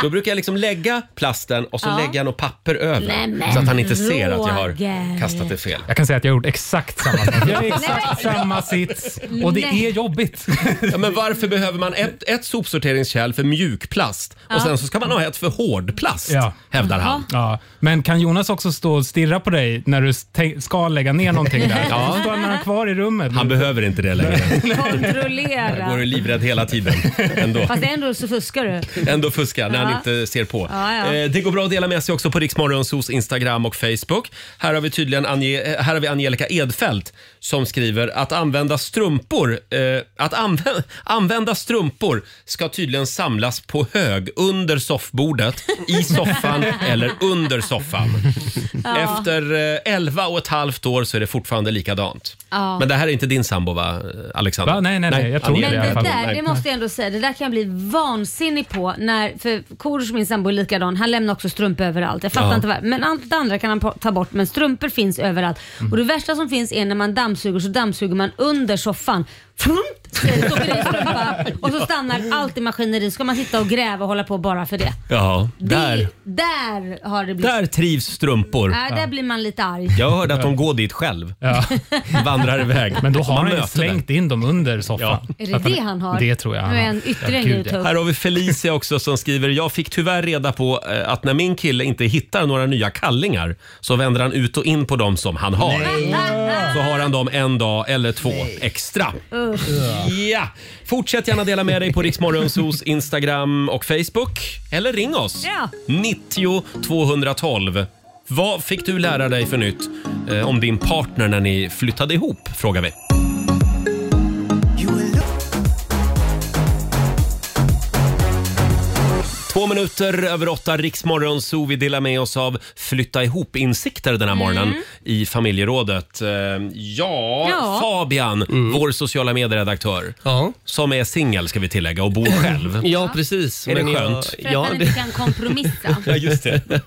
[SPEAKER 1] då brukar jag liksom lägga plasten och så
[SPEAKER 7] Ja.
[SPEAKER 1] lägger jag något papper över
[SPEAKER 7] Nej, men
[SPEAKER 1] så att han inte ser att jag
[SPEAKER 7] Roger.
[SPEAKER 1] har kastat det fel.
[SPEAKER 7] Jag kan säga att jag har gjort exakt samma sak. Jag är i exakt
[SPEAKER 1] Nej.
[SPEAKER 7] samma sits och det
[SPEAKER 1] Nej.
[SPEAKER 7] är jobbigt.
[SPEAKER 1] Ja, men varför behöver man ett, ett sopsorteringskärl för mjukplast
[SPEAKER 7] Ja.
[SPEAKER 1] och sen så ska man ha ett för hårdplast,
[SPEAKER 7] Ja.
[SPEAKER 1] hävdar han.
[SPEAKER 7] Ja. Men kan Jonas också stå och stirra på dig när du te- ska lägga ner någonting där?
[SPEAKER 1] Ja.
[SPEAKER 7] Så Står han kvar i rummet?
[SPEAKER 1] Han behöver inte det längre. Han går
[SPEAKER 2] Kontrollera.
[SPEAKER 1] och är livrädd hela tiden. Ändå.
[SPEAKER 2] Fast ändå så fuskar du.
[SPEAKER 1] Ändå fuska när
[SPEAKER 2] Ja.
[SPEAKER 1] han inte ser på.
[SPEAKER 2] Ja, ja.
[SPEAKER 1] Eh, Det går bra att dela med sig också på Riksmorgonsos Instagram och Facebook. Här har vi tydligen Anje, eh, här har vi Angelica Edfelt som skriver att använda strumpor, eh, att anvä- använda strumpor ska tydligen samlas på hög under soffbordet, i soffan eller under soffan.
[SPEAKER 2] Ja.
[SPEAKER 1] Efter eh, 11 och ett halvt år så är det fortfarande likadant.
[SPEAKER 2] Ja.
[SPEAKER 1] Men det här är inte din sambo va, Alexander?
[SPEAKER 7] Va? Nej, nej, nej. Jag tror
[SPEAKER 1] Angelica.
[SPEAKER 2] Men det där,
[SPEAKER 1] Nej.
[SPEAKER 2] det måste jag ändå säga, det där kan jag bli vansinnig på. När, för Korosh, min sambo, är likadan. Han lämnar också strumpor överallt. Jag fattar
[SPEAKER 11] Ja.
[SPEAKER 2] inte varför. Men allt det andra kan han po- ta bort, men strumpor finns överallt.
[SPEAKER 1] Mm.
[SPEAKER 2] Och det värsta som finns är när man dammsuger, så dammsuger man under soffan. Frump, stoppar i en strumpa och så stannar allt i maskineriet. Ska man sitta och gräva och hålla på bara för det.
[SPEAKER 1] Ja, där,
[SPEAKER 2] Där har det blivit...
[SPEAKER 1] där trivs strumpor.
[SPEAKER 2] Äh, där blir man lite arg.
[SPEAKER 1] Jag hörde att de går dit själv. Vandrar iväg.
[SPEAKER 7] Men då har
[SPEAKER 1] Man
[SPEAKER 7] han ju
[SPEAKER 1] möter
[SPEAKER 7] slängt in dem under soffan.
[SPEAKER 2] Är det det han har?
[SPEAKER 7] Det tror jag han
[SPEAKER 2] Nu är
[SPEAKER 7] har.
[SPEAKER 2] en ytterligare
[SPEAKER 7] Ja,
[SPEAKER 2] grej
[SPEAKER 7] gud,
[SPEAKER 2] att
[SPEAKER 7] ja.
[SPEAKER 2] ta upp.
[SPEAKER 1] Här har vi Felicia också som skriver “Jag fick tyvärr reda på eh, att när min kille inte hittar några nya kallingar så vänder han ut och in på dem som han har. Så har han dem en dag eller två extra.
[SPEAKER 2] Usch.
[SPEAKER 1] Ja! Fortsätt gärna dela med dig på Riksmorgonsos Instagram och Facebook. Eller ring oss!
[SPEAKER 2] Ja.
[SPEAKER 1] 90 212. Vad fick du lära dig för nytt eh, om din partner när ni flyttade ihop? Frågar vi. Två minuter över åtta, Riksmorgon, så vi delar med oss av flytta ihop-insikter den här morgonen i familjerådet. Eh, Ja,
[SPEAKER 2] Ja.
[SPEAKER 1] Fabian, vår sociala medieredaktör, som är singel ska vi tillägga och bor själv.
[SPEAKER 15] Ja, precis.
[SPEAKER 1] Är det
[SPEAKER 15] Men jag-
[SPEAKER 1] skönt?
[SPEAKER 2] För att man inte kan kompromissa.
[SPEAKER 1] Ja, just det.
[SPEAKER 15] Eh,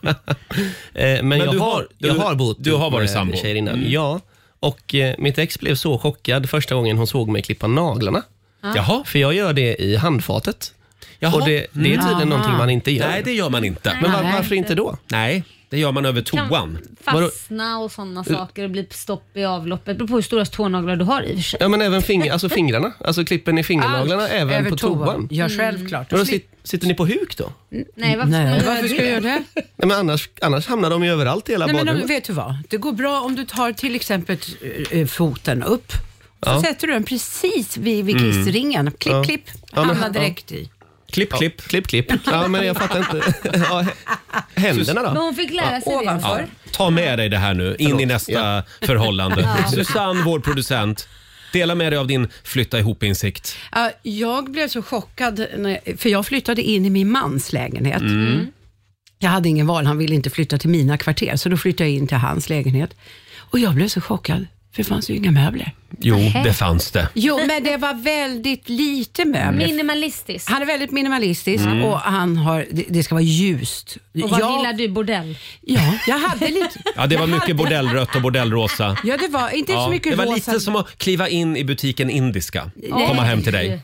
[SPEAKER 15] men,
[SPEAKER 1] Men
[SPEAKER 15] jag,
[SPEAKER 1] du har-
[SPEAKER 15] har, jag
[SPEAKER 1] du-
[SPEAKER 15] har bott
[SPEAKER 1] du har varit
[SPEAKER 15] med
[SPEAKER 1] sambo.
[SPEAKER 15] tjejer innan.
[SPEAKER 1] Mm.
[SPEAKER 15] Ja, och eh, mitt ex blev så chockad första gången hon såg mig klippa naglarna.
[SPEAKER 1] Ah. Jaha.
[SPEAKER 15] För jag gör det i handfatet.
[SPEAKER 1] Jaha.
[SPEAKER 15] Och det, det är tydligen
[SPEAKER 1] Mm.
[SPEAKER 15] någonting man inte gör.
[SPEAKER 1] Nej, det gör man inte.
[SPEAKER 15] Men var,
[SPEAKER 2] Nej.
[SPEAKER 15] varför inte då?
[SPEAKER 1] Nej, det gör man över toan.
[SPEAKER 15] Vadå?
[SPEAKER 2] Fastna och sådana saker och bli stopp i avloppet. Beror på hur stora tånaglar du har i och för sig.
[SPEAKER 15] Ja, men även fing, alltså fingrarna. Alltså klipper ni fingernaglarna
[SPEAKER 2] Allt
[SPEAKER 15] även
[SPEAKER 2] över
[SPEAKER 15] på
[SPEAKER 2] toan.
[SPEAKER 15] toan?
[SPEAKER 5] Ja, självklart.
[SPEAKER 15] Men då sit, sitter ni på huk då?
[SPEAKER 2] Nej, varför ska man
[SPEAKER 5] Nej,
[SPEAKER 2] göra
[SPEAKER 5] varför ska jag göra det?
[SPEAKER 15] Nej, men annars, annars hamnar de ju överallt i hela
[SPEAKER 5] Nej, men
[SPEAKER 15] badrummet.
[SPEAKER 5] om, vet du vad? Det går bra om du tar till exempel eh, foten upp. Så
[SPEAKER 15] Ja.
[SPEAKER 5] sätter du den precis vid, vid
[SPEAKER 15] Mm.
[SPEAKER 5] kissringen. Klipp,
[SPEAKER 15] Ja.
[SPEAKER 5] klipp.
[SPEAKER 15] Ja, men-
[SPEAKER 5] Hamnar direkt
[SPEAKER 15] ja.
[SPEAKER 5] i.
[SPEAKER 1] Klipp, klipp.
[SPEAKER 15] Klipp, klipp. Ja, men jag fattar inte. Ja, hä- händerna då?
[SPEAKER 2] Men hon fick lära sig det.
[SPEAKER 1] Ja, ta med dig det här nu in i nästa förhållande.
[SPEAKER 5] Ja.
[SPEAKER 1] Susanne, vår producent, dela med dig av din flytta ihop-insikt.
[SPEAKER 5] Ja, jag blev så chockad, när, för jag flyttade in i min mans lägenhet.
[SPEAKER 1] Mm.
[SPEAKER 5] Jag hade ingen val, han ville inte flytta till mina kvarter, så då flyttade jag in till hans lägenhet. Och jag blev så chockad, för det fanns ju inga möbler.
[SPEAKER 1] Jo,
[SPEAKER 5] Nähä.
[SPEAKER 1] det fanns det.
[SPEAKER 5] Jo, men det var väldigt lite möbler.
[SPEAKER 2] Minimalistiskt.
[SPEAKER 5] Han är väldigt minimalistisk
[SPEAKER 1] Mm.
[SPEAKER 5] och han har, det, det ska vara ljust.
[SPEAKER 2] Och vad
[SPEAKER 5] Jag-
[SPEAKER 2] gillar du? Bordell?
[SPEAKER 5] Ja, jag hade lite.
[SPEAKER 1] Ja, det var
[SPEAKER 5] jag
[SPEAKER 1] mycket
[SPEAKER 5] hade-
[SPEAKER 1] bordellrött och bordellrosa.
[SPEAKER 5] Ja, det var inte
[SPEAKER 1] Ja,
[SPEAKER 5] så mycket
[SPEAKER 1] det var
[SPEAKER 5] rosa.
[SPEAKER 1] lite som att kliva in i butiken indiska.
[SPEAKER 5] Nej.
[SPEAKER 1] Komma hem till dig.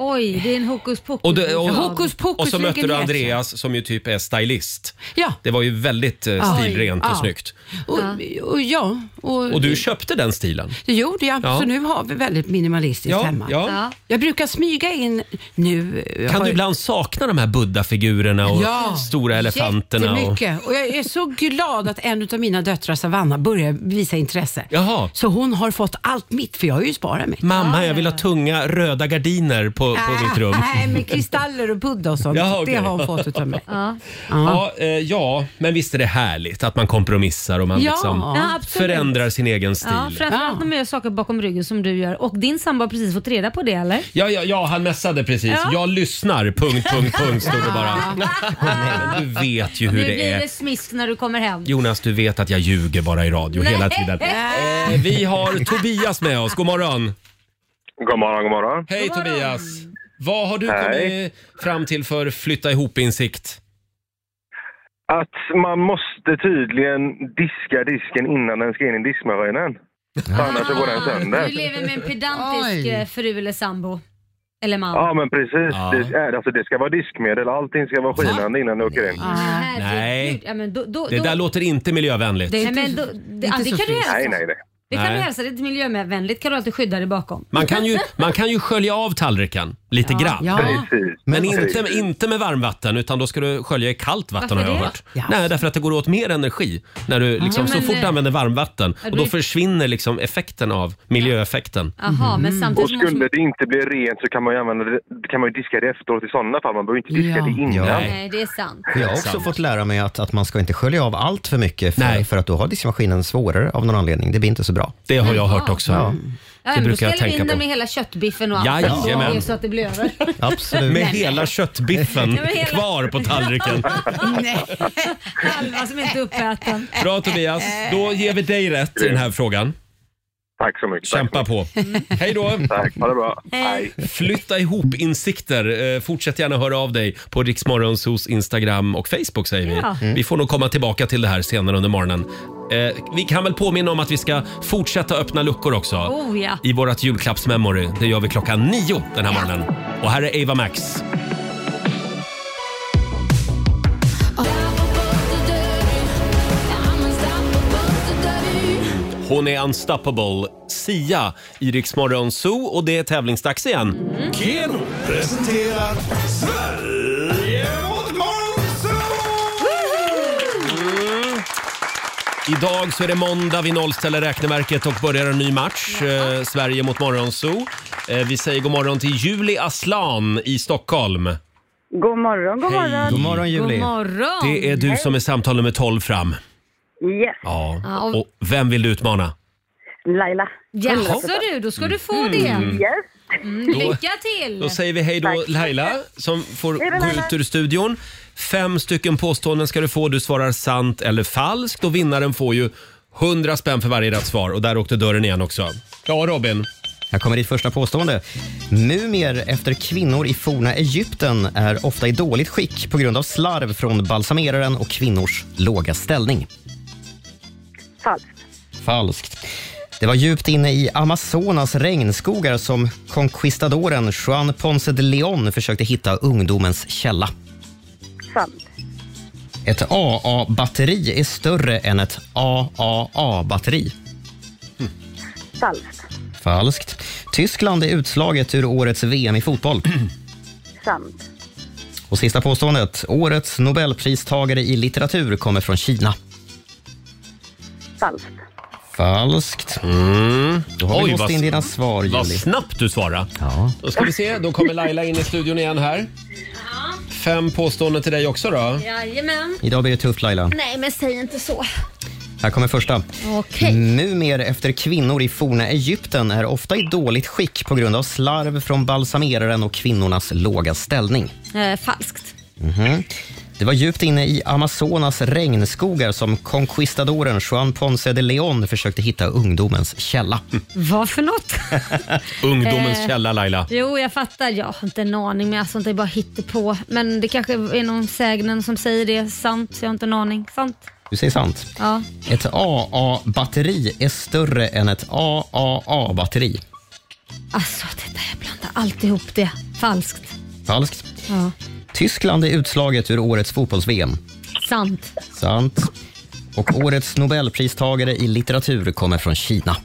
[SPEAKER 2] Oj, det är en hokus pokus.
[SPEAKER 1] Och, det, och,
[SPEAKER 5] Hokus pokus
[SPEAKER 1] och så mötte du
[SPEAKER 5] lägenhet.
[SPEAKER 1] Andreas som ju typ är stylist.
[SPEAKER 5] Ja.
[SPEAKER 1] Det var ju väldigt eh,
[SPEAKER 5] Oj.
[SPEAKER 1] stilrent och
[SPEAKER 5] Ja.
[SPEAKER 1] snyggt.
[SPEAKER 5] Och, och, ja, och,
[SPEAKER 1] Och du köpte den stilen.
[SPEAKER 5] Det gjorde jag,
[SPEAKER 1] Ja.
[SPEAKER 5] så nu har vi väldigt minimalistiskt
[SPEAKER 1] Ja,
[SPEAKER 5] hemma.
[SPEAKER 1] ja. Ja.
[SPEAKER 5] Jag brukar smyga in nu. jag
[SPEAKER 1] Kan
[SPEAKER 5] har-
[SPEAKER 1] du ibland sakna de här buddha-figurerna och
[SPEAKER 5] Ja,
[SPEAKER 1] stora elefanterna? Och...
[SPEAKER 5] Jättemycket. Och jag är så glad att en av mina döttrar, Savanna, börjar visa intresse.
[SPEAKER 1] Jaha.
[SPEAKER 5] Så hon har fått allt mitt, för jag har ju sparat mitt.
[SPEAKER 1] Mamma, jag vill ha tunga röda gardiner på,
[SPEAKER 5] Ah.
[SPEAKER 1] på mitt rum.
[SPEAKER 5] Nej, men kristaller och puddar och sånt,
[SPEAKER 1] Jaha, okej.
[SPEAKER 5] det har hon fått utav mig.
[SPEAKER 1] Ja, eh, ja, men visst är det härligt att man kompromissar och man
[SPEAKER 2] Ja,
[SPEAKER 1] liksom
[SPEAKER 2] ja, absolut.
[SPEAKER 1] förändrar sin egen stil.
[SPEAKER 2] Ja, framförallt när man gör saker bakom ryggen som du gör. Och din sambo har precis fått reda på det eller?
[SPEAKER 1] Ja, ja, ja, han messade precis.
[SPEAKER 2] Ja.
[SPEAKER 1] Jag lyssnar, punkt, punkt, punkt, stod det bara. Nej, men du vet ju
[SPEAKER 2] nu
[SPEAKER 1] hur det
[SPEAKER 2] blir
[SPEAKER 1] är.
[SPEAKER 2] det smisk när du kommer hem.
[SPEAKER 1] Jonas, du vet att jag ljuger bara i radio hela
[SPEAKER 2] Nej.
[SPEAKER 1] tiden. Eh, Vi har Tobias med oss. God morgon.
[SPEAKER 18] God morgon, god morgon.
[SPEAKER 1] Hej Tobias. Vad har du
[SPEAKER 18] Hej.
[SPEAKER 1] kommit fram till för flytta ihop-insikt?
[SPEAKER 18] Att man måste tydligen diska disken innan den ska in i diskmaskinen. För annars så går den sönder.
[SPEAKER 2] Du lever med en pedantisk eh, fru eller sambo. Eller man.
[SPEAKER 18] Ja men precis.
[SPEAKER 1] Ja.
[SPEAKER 18] Det, är- alltså, det ska vara diskmedel, allting ska vara skinande innan det åker in.
[SPEAKER 2] Herregud.
[SPEAKER 1] Nej.
[SPEAKER 2] Ja, men då, då,
[SPEAKER 1] Det
[SPEAKER 2] då,
[SPEAKER 1] där låter inte miljövänligt.
[SPEAKER 2] Nej, men då, det, ja, det kan du hälsa.
[SPEAKER 1] Nej, nej,
[SPEAKER 18] nej.
[SPEAKER 2] Det kan du
[SPEAKER 1] Nej.
[SPEAKER 2] hälsa. Det är inte miljövänligt. kan du alltid skydda dig bakom.
[SPEAKER 1] Man kan ju, man kan ju skölja av tallriken lite
[SPEAKER 2] Ja.
[SPEAKER 1] grann.
[SPEAKER 2] Ja.
[SPEAKER 18] Precis.
[SPEAKER 1] Men
[SPEAKER 18] Precis.
[SPEAKER 1] inte, inte med varmvatten utan då ska du skölja i kallt vatten
[SPEAKER 2] Varför
[SPEAKER 1] har jag
[SPEAKER 2] det?
[SPEAKER 1] hört. Nej, därför att det går åt mer energi när du liksom,
[SPEAKER 2] Ja,
[SPEAKER 1] så
[SPEAKER 2] men,
[SPEAKER 1] fort du
[SPEAKER 2] eh,
[SPEAKER 1] använder varmvatten
[SPEAKER 2] ja,
[SPEAKER 1] och
[SPEAKER 2] då
[SPEAKER 1] då
[SPEAKER 2] är-
[SPEAKER 1] försvinner liksom effekten av miljöeffekten.
[SPEAKER 2] Jaha, men
[SPEAKER 18] Och
[SPEAKER 2] samtidigt måste
[SPEAKER 18] skulle det inte bli rent så kan man ju, använda det, kan man ju diska det efteråt i sådana fall. Man behöver inte diska
[SPEAKER 2] Ja.
[SPEAKER 18] det innan.
[SPEAKER 2] Nej. det är sant.
[SPEAKER 6] Jag har också fått lära mig att, att man ska inte skölja av allt för mycket för, för att då har diskmaskinen svårare av någon anledning. Det blir inte så bra.
[SPEAKER 1] Det har jag hört också.
[SPEAKER 6] Ja.
[SPEAKER 2] Ja,
[SPEAKER 6] Det
[SPEAKER 2] men då
[SPEAKER 6] brukar jag
[SPEAKER 2] ställer vi in
[SPEAKER 6] tänka
[SPEAKER 2] den
[SPEAKER 6] på.
[SPEAKER 2] med hela köttbiffen och allt.
[SPEAKER 1] Jajamän.
[SPEAKER 2] Det är så att det blir över.
[SPEAKER 6] Absolut.
[SPEAKER 1] Med hela köttbiffen
[SPEAKER 2] Ja, men hela-
[SPEAKER 1] kvar på tallriken.
[SPEAKER 2] Nej. Halva som inte är uppäten.
[SPEAKER 1] Bra Tobias, då ger vi dig rätt i den här frågan.
[SPEAKER 18] Tack så mycket. Mm.
[SPEAKER 1] Kämpa på. Hej då.
[SPEAKER 18] Tack, ha det bra.
[SPEAKER 2] Hej.
[SPEAKER 1] Flytta ihop insikter. Eh, Fortsätt gärna höra av dig på Riksmorgonsos Instagram och Facebook säger vi.
[SPEAKER 2] Ja. Mm.
[SPEAKER 1] Vi får nog komma tillbaka till det här senare under morgonen. Eh, Vi kan väl påminna om att vi ska fortsätta öppna luckor också.
[SPEAKER 2] Oh ja.
[SPEAKER 1] I vårt julklappsmemory. Det gör vi klockan nio den här morgonen. Och här är Ava Max. Hon är unstoppable. Sia i Rix Morgon Zoo och det är tävlingsdags igen.
[SPEAKER 3] Keno presenterar Sverige mot morgon.
[SPEAKER 1] Mm. Idag så är det måndag, vi nollställer räkneverket och börjar en ny match. Eh, Sverige mot Morgonzoo. Eh, vi säger god morgon till Julie Aslan i Stockholm.
[SPEAKER 4] God morgon, god morgon.
[SPEAKER 1] Hej. Det är du som är samtal nummer 12 fram.
[SPEAKER 4] Yes,
[SPEAKER 1] Ja.
[SPEAKER 2] Ja, och-
[SPEAKER 1] Och vem vill du utmana?
[SPEAKER 4] Laila.
[SPEAKER 2] Jaså du, då ska du få
[SPEAKER 1] Mm.
[SPEAKER 2] det.
[SPEAKER 1] Yes.
[SPEAKER 2] Mm,
[SPEAKER 1] Då-
[SPEAKER 2] lycka till!
[SPEAKER 1] Då säger vi hej då Laila som får
[SPEAKER 2] Hej då,
[SPEAKER 1] gå
[SPEAKER 2] Laila.
[SPEAKER 1] ut ur studion. Fem stycken påståenden ska du få. Du svarar sant eller falskt och vinnaren får ju 100 spänn för varje rätt svar. Och där åkte dörren igen också. Ja, Robin.
[SPEAKER 6] Här kommer ditt första påstående. Mumier efter kvinnor i forna Egypten är ofta i dåligt skick på grund av slarv från balsameraren och kvinnors låga ställning.
[SPEAKER 4] Falskt.
[SPEAKER 6] Falskt. Det var djupt inne i Amazonas regnskogar som conquistadoren Juan Ponce de Leon försökte hitta ungdomens källa.
[SPEAKER 4] Sant.
[SPEAKER 6] Ett AA-batteri är större än ett AAA-batteri.
[SPEAKER 4] Falskt.
[SPEAKER 6] Falskt. Tyskland är utslaget ur årets VM i fotboll.
[SPEAKER 4] Sant.
[SPEAKER 6] Och sista påståendet. Årets Nobelpristagare i litteratur kommer från Kina.
[SPEAKER 4] Falskt.
[SPEAKER 6] Falskt. Mm. Då har vi låst in dina svar,
[SPEAKER 1] Vad
[SPEAKER 6] Julie.
[SPEAKER 1] snabbt du svarade.
[SPEAKER 6] Ja.
[SPEAKER 1] Då ska vi se, då kommer Laila in i studion igen här. Fem påståenden till dig också
[SPEAKER 2] Eh.
[SPEAKER 1] då.
[SPEAKER 2] Jajamän.
[SPEAKER 6] Idag blir det tufft, Laila.
[SPEAKER 2] Nej men säg inte så.
[SPEAKER 6] Här kommer första.
[SPEAKER 2] Okej.
[SPEAKER 6] Mumier efter kvinnor i forna Egypten är ofta i dåligt skick på grund av slarv från balsameraren och kvinnornas låga ställning.
[SPEAKER 2] Eh, falskt.
[SPEAKER 6] Mhm. Det var djupt inne i Amazonas regnskogar som conquistadoren Juan Ponce de Leon försökte hitta ungdomens källa.
[SPEAKER 2] Vad för något?
[SPEAKER 1] Ungdomens
[SPEAKER 2] Eh.
[SPEAKER 1] källa, Laila.
[SPEAKER 2] Jo, jag fattar. Jag har inte en aning, men alltså, det är bara hittepå. Men det kanske är någon sägnen som säger det. Sant, så jag har inte en aning. Sant.
[SPEAKER 6] Du säger sant.
[SPEAKER 2] Ja.
[SPEAKER 6] Ett AA-batteri är större än ett AAA-batteri.
[SPEAKER 2] Alltså, titta, jag blandar alltihop det. Falskt.
[SPEAKER 6] Falskt.
[SPEAKER 2] Ja.
[SPEAKER 6] Tyskland är utslaget ur årets fotbolls-VM.
[SPEAKER 2] Sant.
[SPEAKER 6] Sant. Och årets Nobelpristagare i litteratur kommer från Kina.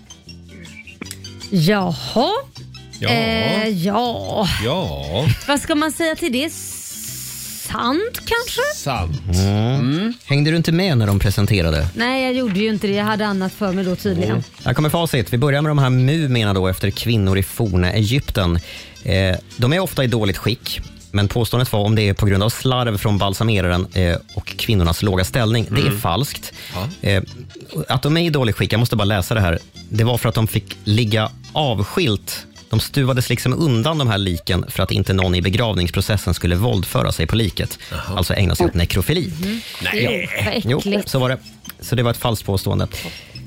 [SPEAKER 2] Jaha.
[SPEAKER 6] Ja.
[SPEAKER 2] Eh, ja.
[SPEAKER 1] Ja.
[SPEAKER 2] Vad ska man säga till det? Sant kanske?
[SPEAKER 1] Sant.
[SPEAKER 6] Mm. Hängde du inte med när de presenterade?
[SPEAKER 2] Nej, jag gjorde ju inte det. Jag hade annat för mig då tydligen.
[SPEAKER 6] Här kommer facit. Vi börjar med de här mumierna då efter kvinnor i forna Egypten. Eh, de är ofta i dåligt skick, men påståendet var om det är på grund av slarv från balsameraren eh, och kvinnornas låga ställning. Det är
[SPEAKER 1] Mm.
[SPEAKER 6] falskt. Eh, att de är i dåligt skick, jag måste bara läsa det här. Det var för att de fick ligga avskilt. De stuvades liksom undan de här liken för att inte någon i begravningsprocessen skulle våldföra sig på liket. Alltså ägna sig åt nekrofili.
[SPEAKER 11] Nej.
[SPEAKER 6] Jo, så var det. Så det var ett falskt påstående.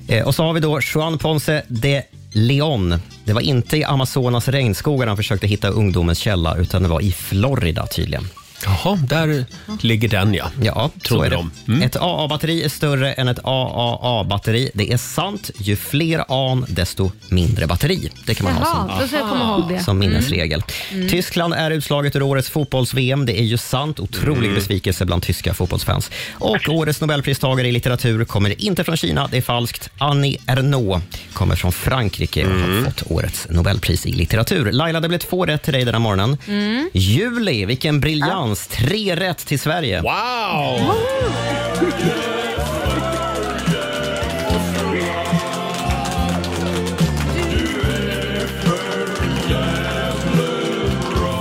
[SPEAKER 6] Eh, och så har vi då Juan Ponce de Leon. Det var inte i Amazonas regnskogar han försökte hitta ungdomens källa, utan det var i Florida tydligen.
[SPEAKER 1] Jaha, där ligger den ja.
[SPEAKER 6] Ja, så
[SPEAKER 1] Trodde
[SPEAKER 6] är det.
[SPEAKER 1] de. Mm.
[SPEAKER 6] Ett AA-batteri är större än ett AAA-batteri. Det är sant. Ju fler an, desto mindre batteri. Det kan man
[SPEAKER 2] Jaha,
[SPEAKER 6] ha
[SPEAKER 2] då
[SPEAKER 6] som,
[SPEAKER 2] ska jag komma ihåg det.
[SPEAKER 6] som minnesregel.
[SPEAKER 2] Mm. Mm.
[SPEAKER 6] Tyskland är utslaget ur årets fotbolls-VM. Det är ju sant. Otrolig besvikelse bland tyska fotbollsfans. Och årets Nobelpristagare i litteratur kommer inte från Kina. Det är falskt. Annie Ernaux kommer från Frankrike och har fått årets Nobelpris i litteratur. Laila, det blev två rätt till dig den här morgonen.
[SPEAKER 11] Mm.
[SPEAKER 6] Juli, vilken briljans! Tre rätt till Sverige.
[SPEAKER 1] Wow!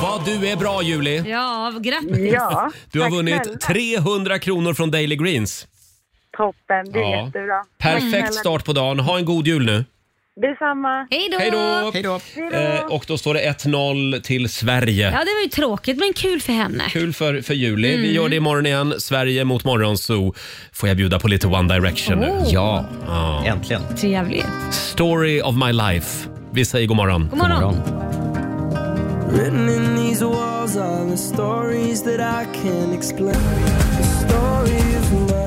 [SPEAKER 1] Vad du är bra Julie!
[SPEAKER 2] Ja, grattis.
[SPEAKER 1] Ja, Du har vunnit 300 kronor från Daily Greens.
[SPEAKER 4] Toppen, det är
[SPEAKER 1] Ja.
[SPEAKER 4] jättebra.
[SPEAKER 2] Mm,
[SPEAKER 1] Perfekt start på dagen. Ha en god jul nu.
[SPEAKER 4] Detsamma.
[SPEAKER 2] Hej
[SPEAKER 1] Hej då! Eh, och då står det 1-0 till Sverige.
[SPEAKER 2] Ja, det var ju tråkigt men kul för henne.
[SPEAKER 1] Kul för, för Juli. Vi
[SPEAKER 2] Mm.
[SPEAKER 1] gör det imorgon igen. Sverige mot Morgonzoo. Får jag bjuda på lite One Direction nu?
[SPEAKER 2] Oh. Ja,
[SPEAKER 6] äntligen.
[SPEAKER 2] Trevligt.
[SPEAKER 1] Story of my life. Vi säger god morgon.
[SPEAKER 2] God morgon.
[SPEAKER 8] Written in these walls are the stories that I can't explain. The story of my life.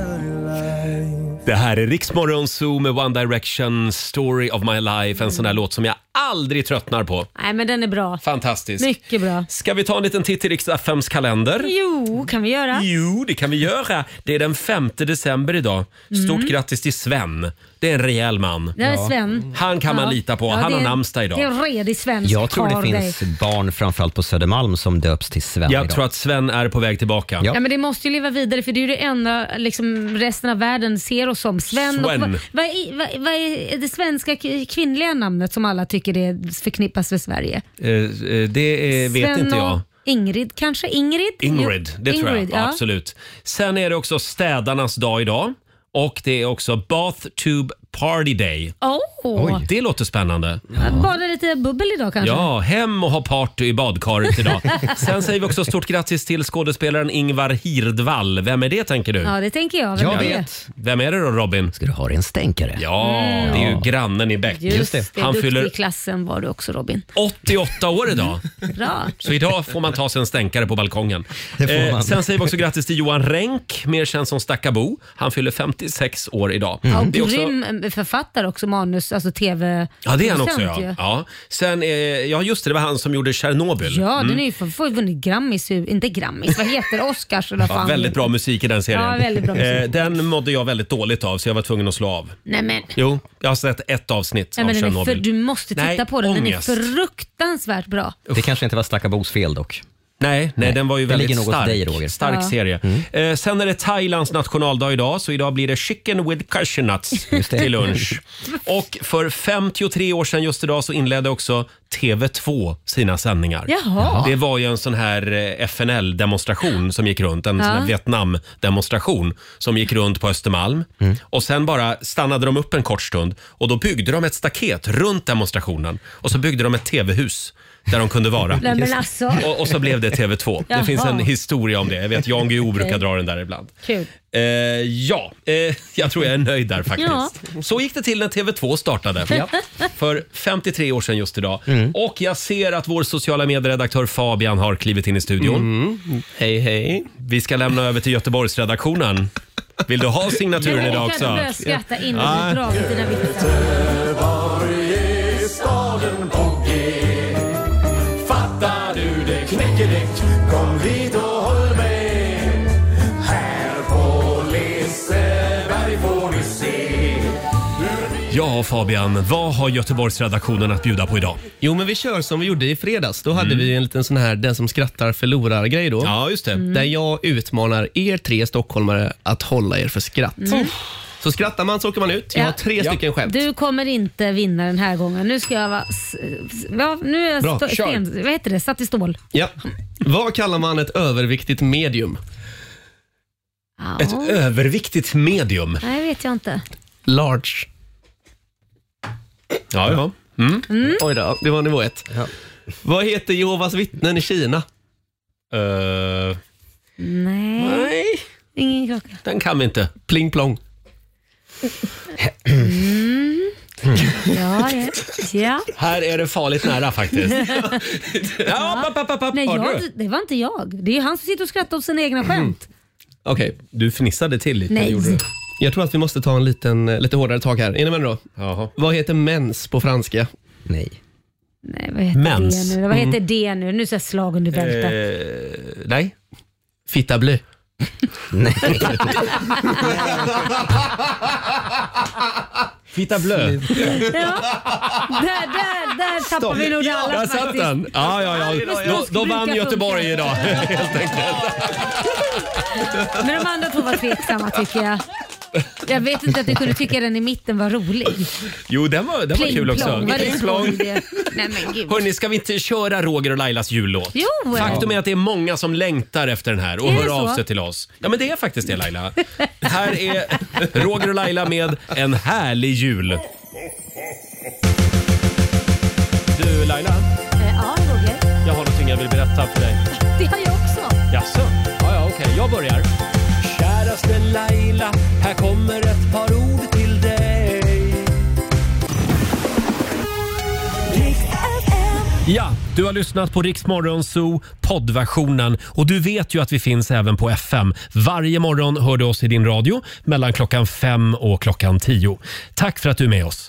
[SPEAKER 1] Det här är Riksmorgon Zoo med One Direction, Story of my life. En sån här låt som jag aldrig tröttnar på.
[SPEAKER 2] Nej, men den är bra.
[SPEAKER 1] Fantastisk.
[SPEAKER 2] Mycket bra.
[SPEAKER 1] Ska vi ta en liten titt i Riks-FMs kalender?
[SPEAKER 2] Jo, kan vi göra.
[SPEAKER 1] Jo, det kan vi göra. Det är den 5 december idag. Stort
[SPEAKER 2] Mm.
[SPEAKER 1] grattis till Sven. Det är en rejäl man.
[SPEAKER 2] Det är Sven.
[SPEAKER 1] Han kan man
[SPEAKER 2] Ja.
[SPEAKER 1] lita på.
[SPEAKER 2] Ja,
[SPEAKER 1] Han
[SPEAKER 2] det
[SPEAKER 1] har
[SPEAKER 2] är-
[SPEAKER 1] namnsdag idag.
[SPEAKER 2] Det är en redig svensk
[SPEAKER 6] Jag tror det
[SPEAKER 2] karl,
[SPEAKER 6] finns barn framförallt på Södermalm som döps till Sven
[SPEAKER 1] Jag
[SPEAKER 6] idag.
[SPEAKER 1] tror att Sven är på väg tillbaka.
[SPEAKER 2] Ja. men det måste ju leva vidare för det är ju det enda liksom, resten av världen ser oss som. Sven.
[SPEAKER 1] Sven.
[SPEAKER 2] Och, vad, vad, är, vad, vad är det svenska k- kvinnliga namnet som alla tycker det förknippas med Sverige?
[SPEAKER 1] Eh, eh, Det eh, vet
[SPEAKER 2] Sven
[SPEAKER 1] inte jag.
[SPEAKER 2] och Ingrid kanske? Ingrid?
[SPEAKER 1] Ingrid, det tror jag.
[SPEAKER 2] Ingrid, ja.
[SPEAKER 1] Absolut. Sen är det också städarnas dag idag. Och det är också Bathtub Party Day.
[SPEAKER 2] Åh!
[SPEAKER 1] Det låter spännande.
[SPEAKER 2] Bada lite bubbel idag kanske?
[SPEAKER 1] Ja, hem och ha party i badkaret idag. Sen säger vi också stort grattis till skådespelaren Ingvar Hirdvall. Vem är det tänker du?
[SPEAKER 2] Ja, det tänker jag. Vem är det?
[SPEAKER 1] Vem är det då Robin? Ska
[SPEAKER 6] du ha en stänkare?
[SPEAKER 1] Ja,
[SPEAKER 2] Mm.
[SPEAKER 1] det är ju grannen i Bäck.
[SPEAKER 2] Just, det.
[SPEAKER 1] Han
[SPEAKER 2] Duktig
[SPEAKER 1] fyller
[SPEAKER 2] i klassen var du också Robin.
[SPEAKER 1] 88 år idag.
[SPEAKER 2] Bra.
[SPEAKER 1] Så idag får man ta sig en stänkare på balkongen.
[SPEAKER 2] får
[SPEAKER 1] Eh,
[SPEAKER 2] man.
[SPEAKER 1] sen säger vi också grattis till Johan Renck, mer känd som Stackabo. Han fyller 56 år idag.
[SPEAKER 2] Ja, och
[SPEAKER 1] Mm. Det är också-
[SPEAKER 2] grym eh, författare också, manus, alltså tv
[SPEAKER 1] Ja, det är han också.
[SPEAKER 2] producent ju.
[SPEAKER 1] Ja. Ja. Sen, eh, ja, just det, det var han som gjorde Tjernobyl.
[SPEAKER 2] Ja,
[SPEAKER 1] Mm.
[SPEAKER 2] den är ju för, får ju vunnit Grammis, ju- inte Grammis, vad heter det? Oscars eller vad
[SPEAKER 1] Ja,
[SPEAKER 2] fan.
[SPEAKER 1] väldigt bra musik i den serien.
[SPEAKER 2] Ja, väldigt bra musik.
[SPEAKER 1] Eh, den mådde jag väldigt dåligt av så jag var tvungen att slå av.
[SPEAKER 2] Nej men,
[SPEAKER 1] Jo, jag har sett ett avsnitt
[SPEAKER 2] nej, men
[SPEAKER 1] av
[SPEAKER 2] den är för,
[SPEAKER 1] Tjernobyl.
[SPEAKER 2] du måste titta
[SPEAKER 1] Nej,
[SPEAKER 2] på den. Den
[SPEAKER 1] ångest.
[SPEAKER 2] är fruktansvärt bra.
[SPEAKER 6] Det kanske inte var Stackarbos fel dock.
[SPEAKER 1] Nej, nej, den var ju
[SPEAKER 6] det
[SPEAKER 1] väldigt
[SPEAKER 6] ligger något
[SPEAKER 1] stark.
[SPEAKER 6] dig, Roger. Mm.
[SPEAKER 1] Stark
[SPEAKER 2] Ja.
[SPEAKER 1] serie. Eh, sen är det Thailands nationaldag idag, så idag blir det chicken with cashew nuts till lunch. Och för 53 år sedan just idag så inledde också TV2 sina sändningar.
[SPEAKER 2] Jaha.
[SPEAKER 1] Det var ju en sån här eh, FNL-demonstration som gick runt, en sån
[SPEAKER 2] Ja.
[SPEAKER 1] här Vietnam-demonstration som gick runt på Östermalm.
[SPEAKER 6] Mm.
[SPEAKER 1] Och sen bara stannade de upp en kort stund och då byggde de ett staket runt demonstrationen och så byggde de ett TV-hus där de kunde vara.
[SPEAKER 2] Nej, men alltså.
[SPEAKER 1] Och, och så blev det TV2. Det
[SPEAKER 2] Jaha.
[SPEAKER 1] finns en historia om det. Jag vet Jan Guillou brukar
[SPEAKER 2] Okej.
[SPEAKER 1] dra den där ibland.
[SPEAKER 2] Kul.
[SPEAKER 1] Eh, ja, eh, jag tror jag är nöjd där faktiskt.
[SPEAKER 2] Ja.
[SPEAKER 1] Så gick det till när TV2 startade.
[SPEAKER 2] Ja.
[SPEAKER 1] För 53 år sedan just idag. Och jag ser att vår sociala medieredaktör Fabian har klivit in i studion. Hej, hej. Vi ska lämna över till Göteborgsredaktionen. Vill du ha signaturen
[SPEAKER 2] Men
[SPEAKER 1] idag också?
[SPEAKER 2] kan du börja skratta innan
[SPEAKER 1] Ja.
[SPEAKER 2] du dragit dina vitsar?
[SPEAKER 3] Göteborg är staden på G. Fattar du det knäckedäck? Kom hit och håll med. Här på Liseberg får ni se.
[SPEAKER 1] Ja, Fabian. Vad har Göteborgsredaktionen att bjuda på idag? Mm.
[SPEAKER 15] Jo, men vi kör som vi gjorde i fredags. Då hade vi en liten sån här den som skrattar förlorar-grej då.
[SPEAKER 1] Ja, just det. Mm.
[SPEAKER 15] Där jag utmanar er tre stockholmare att hålla er för skratt.
[SPEAKER 2] Mm.
[SPEAKER 15] Så skrattar man så åker man ut. Jag har
[SPEAKER 2] Ja.
[SPEAKER 15] tre stycken skämt.
[SPEAKER 2] Du kommer inte vinna den här gången. Nu ska jag vara... s- s- Ja, nu är jag
[SPEAKER 15] Bra,
[SPEAKER 2] sto-
[SPEAKER 15] kör.
[SPEAKER 2] sten, vad heter det? Satt i stål.
[SPEAKER 15] Ja. Vad kallar man ett överviktigt medium?
[SPEAKER 2] Ett
[SPEAKER 1] Mm. överviktigt medium?
[SPEAKER 2] Nej, vet jag inte.
[SPEAKER 15] Large.
[SPEAKER 1] Ja, ja. Mm.
[SPEAKER 15] Oj då, det var nivå ett. Vad heter Jehovas vittnen i Kina?
[SPEAKER 1] Eh.
[SPEAKER 2] Nej.
[SPEAKER 15] Nej.
[SPEAKER 2] Ingen klocka.
[SPEAKER 1] Den kan vi inte.
[SPEAKER 15] Pling plong.
[SPEAKER 2] Mm. Ja, ja. ja.
[SPEAKER 1] Här är det farligt nära faktiskt. ja, papp, papp, papp, papp,
[SPEAKER 2] Nej,
[SPEAKER 1] har
[SPEAKER 2] jag,
[SPEAKER 1] du? Mm.
[SPEAKER 2] det var inte jag. Det är ju han som sitter och skrattar åt sina egna skämt.
[SPEAKER 15] Okej.
[SPEAKER 1] Du fnissade till lite.
[SPEAKER 2] Nej. gjorde du.
[SPEAKER 15] Jag tror att vi måste ta en liten, eh, lite hårdare tag här. Är ni med nu då? Vad heter mens på franska? Nej.
[SPEAKER 2] Nej, vad heter
[SPEAKER 15] Mens.
[SPEAKER 2] det nu? Vad heter
[SPEAKER 15] Mm.
[SPEAKER 2] det nu? Nu säger jag slag under bältet.
[SPEAKER 1] Eh.
[SPEAKER 15] nej. Fitta bleu. nej.
[SPEAKER 1] Fitta blö.
[SPEAKER 2] Ja. Där, där, där tappar vi nog det alla
[SPEAKER 1] Där satt
[SPEAKER 2] faktiskt.
[SPEAKER 1] den. Ja, ja, ja.
[SPEAKER 2] Men
[SPEAKER 1] Då,
[SPEAKER 2] snusk
[SPEAKER 1] då vann
[SPEAKER 2] brukar
[SPEAKER 1] Göteborg
[SPEAKER 2] funka.
[SPEAKER 1] idag helt enkelt.
[SPEAKER 2] Men de andra två var tveksamma tycker jag. Jag vet inte att du kunde tycka den i mitten var rolig.
[SPEAKER 1] Jo, den var, den var
[SPEAKER 2] Pling
[SPEAKER 1] kul också.
[SPEAKER 2] plong, vad det
[SPEAKER 1] Pling
[SPEAKER 2] skoj
[SPEAKER 1] plong.
[SPEAKER 2] det. Nej men gud.
[SPEAKER 1] Hörni, ska vi inte köra Roger och Lailas jullåt?
[SPEAKER 2] Jo!
[SPEAKER 1] Faktum är att det är många som längtar efter den här och
[SPEAKER 2] Är det
[SPEAKER 1] hör av
[SPEAKER 2] så?
[SPEAKER 1] sig till oss. Ja, men det är faktiskt det Laila. här är Roger och Laila med En härlig jul. Du Laila,
[SPEAKER 2] Eh, Ja, Roger.
[SPEAKER 1] jag har någonting jag vill berätta för dig.
[SPEAKER 2] Det har jag också.
[SPEAKER 1] Jaså? Ja, ja, okej. Jag börjar. Käraste Laila, här kommer ett par ord till dig. Ja, du har lyssnat på Rix Morgon Zoo poddversionen och du vet ju att vi finns även på FM. Varje morgon hör du oss i din radio mellan klockan fem och klockan tio. Tack för att du är med oss.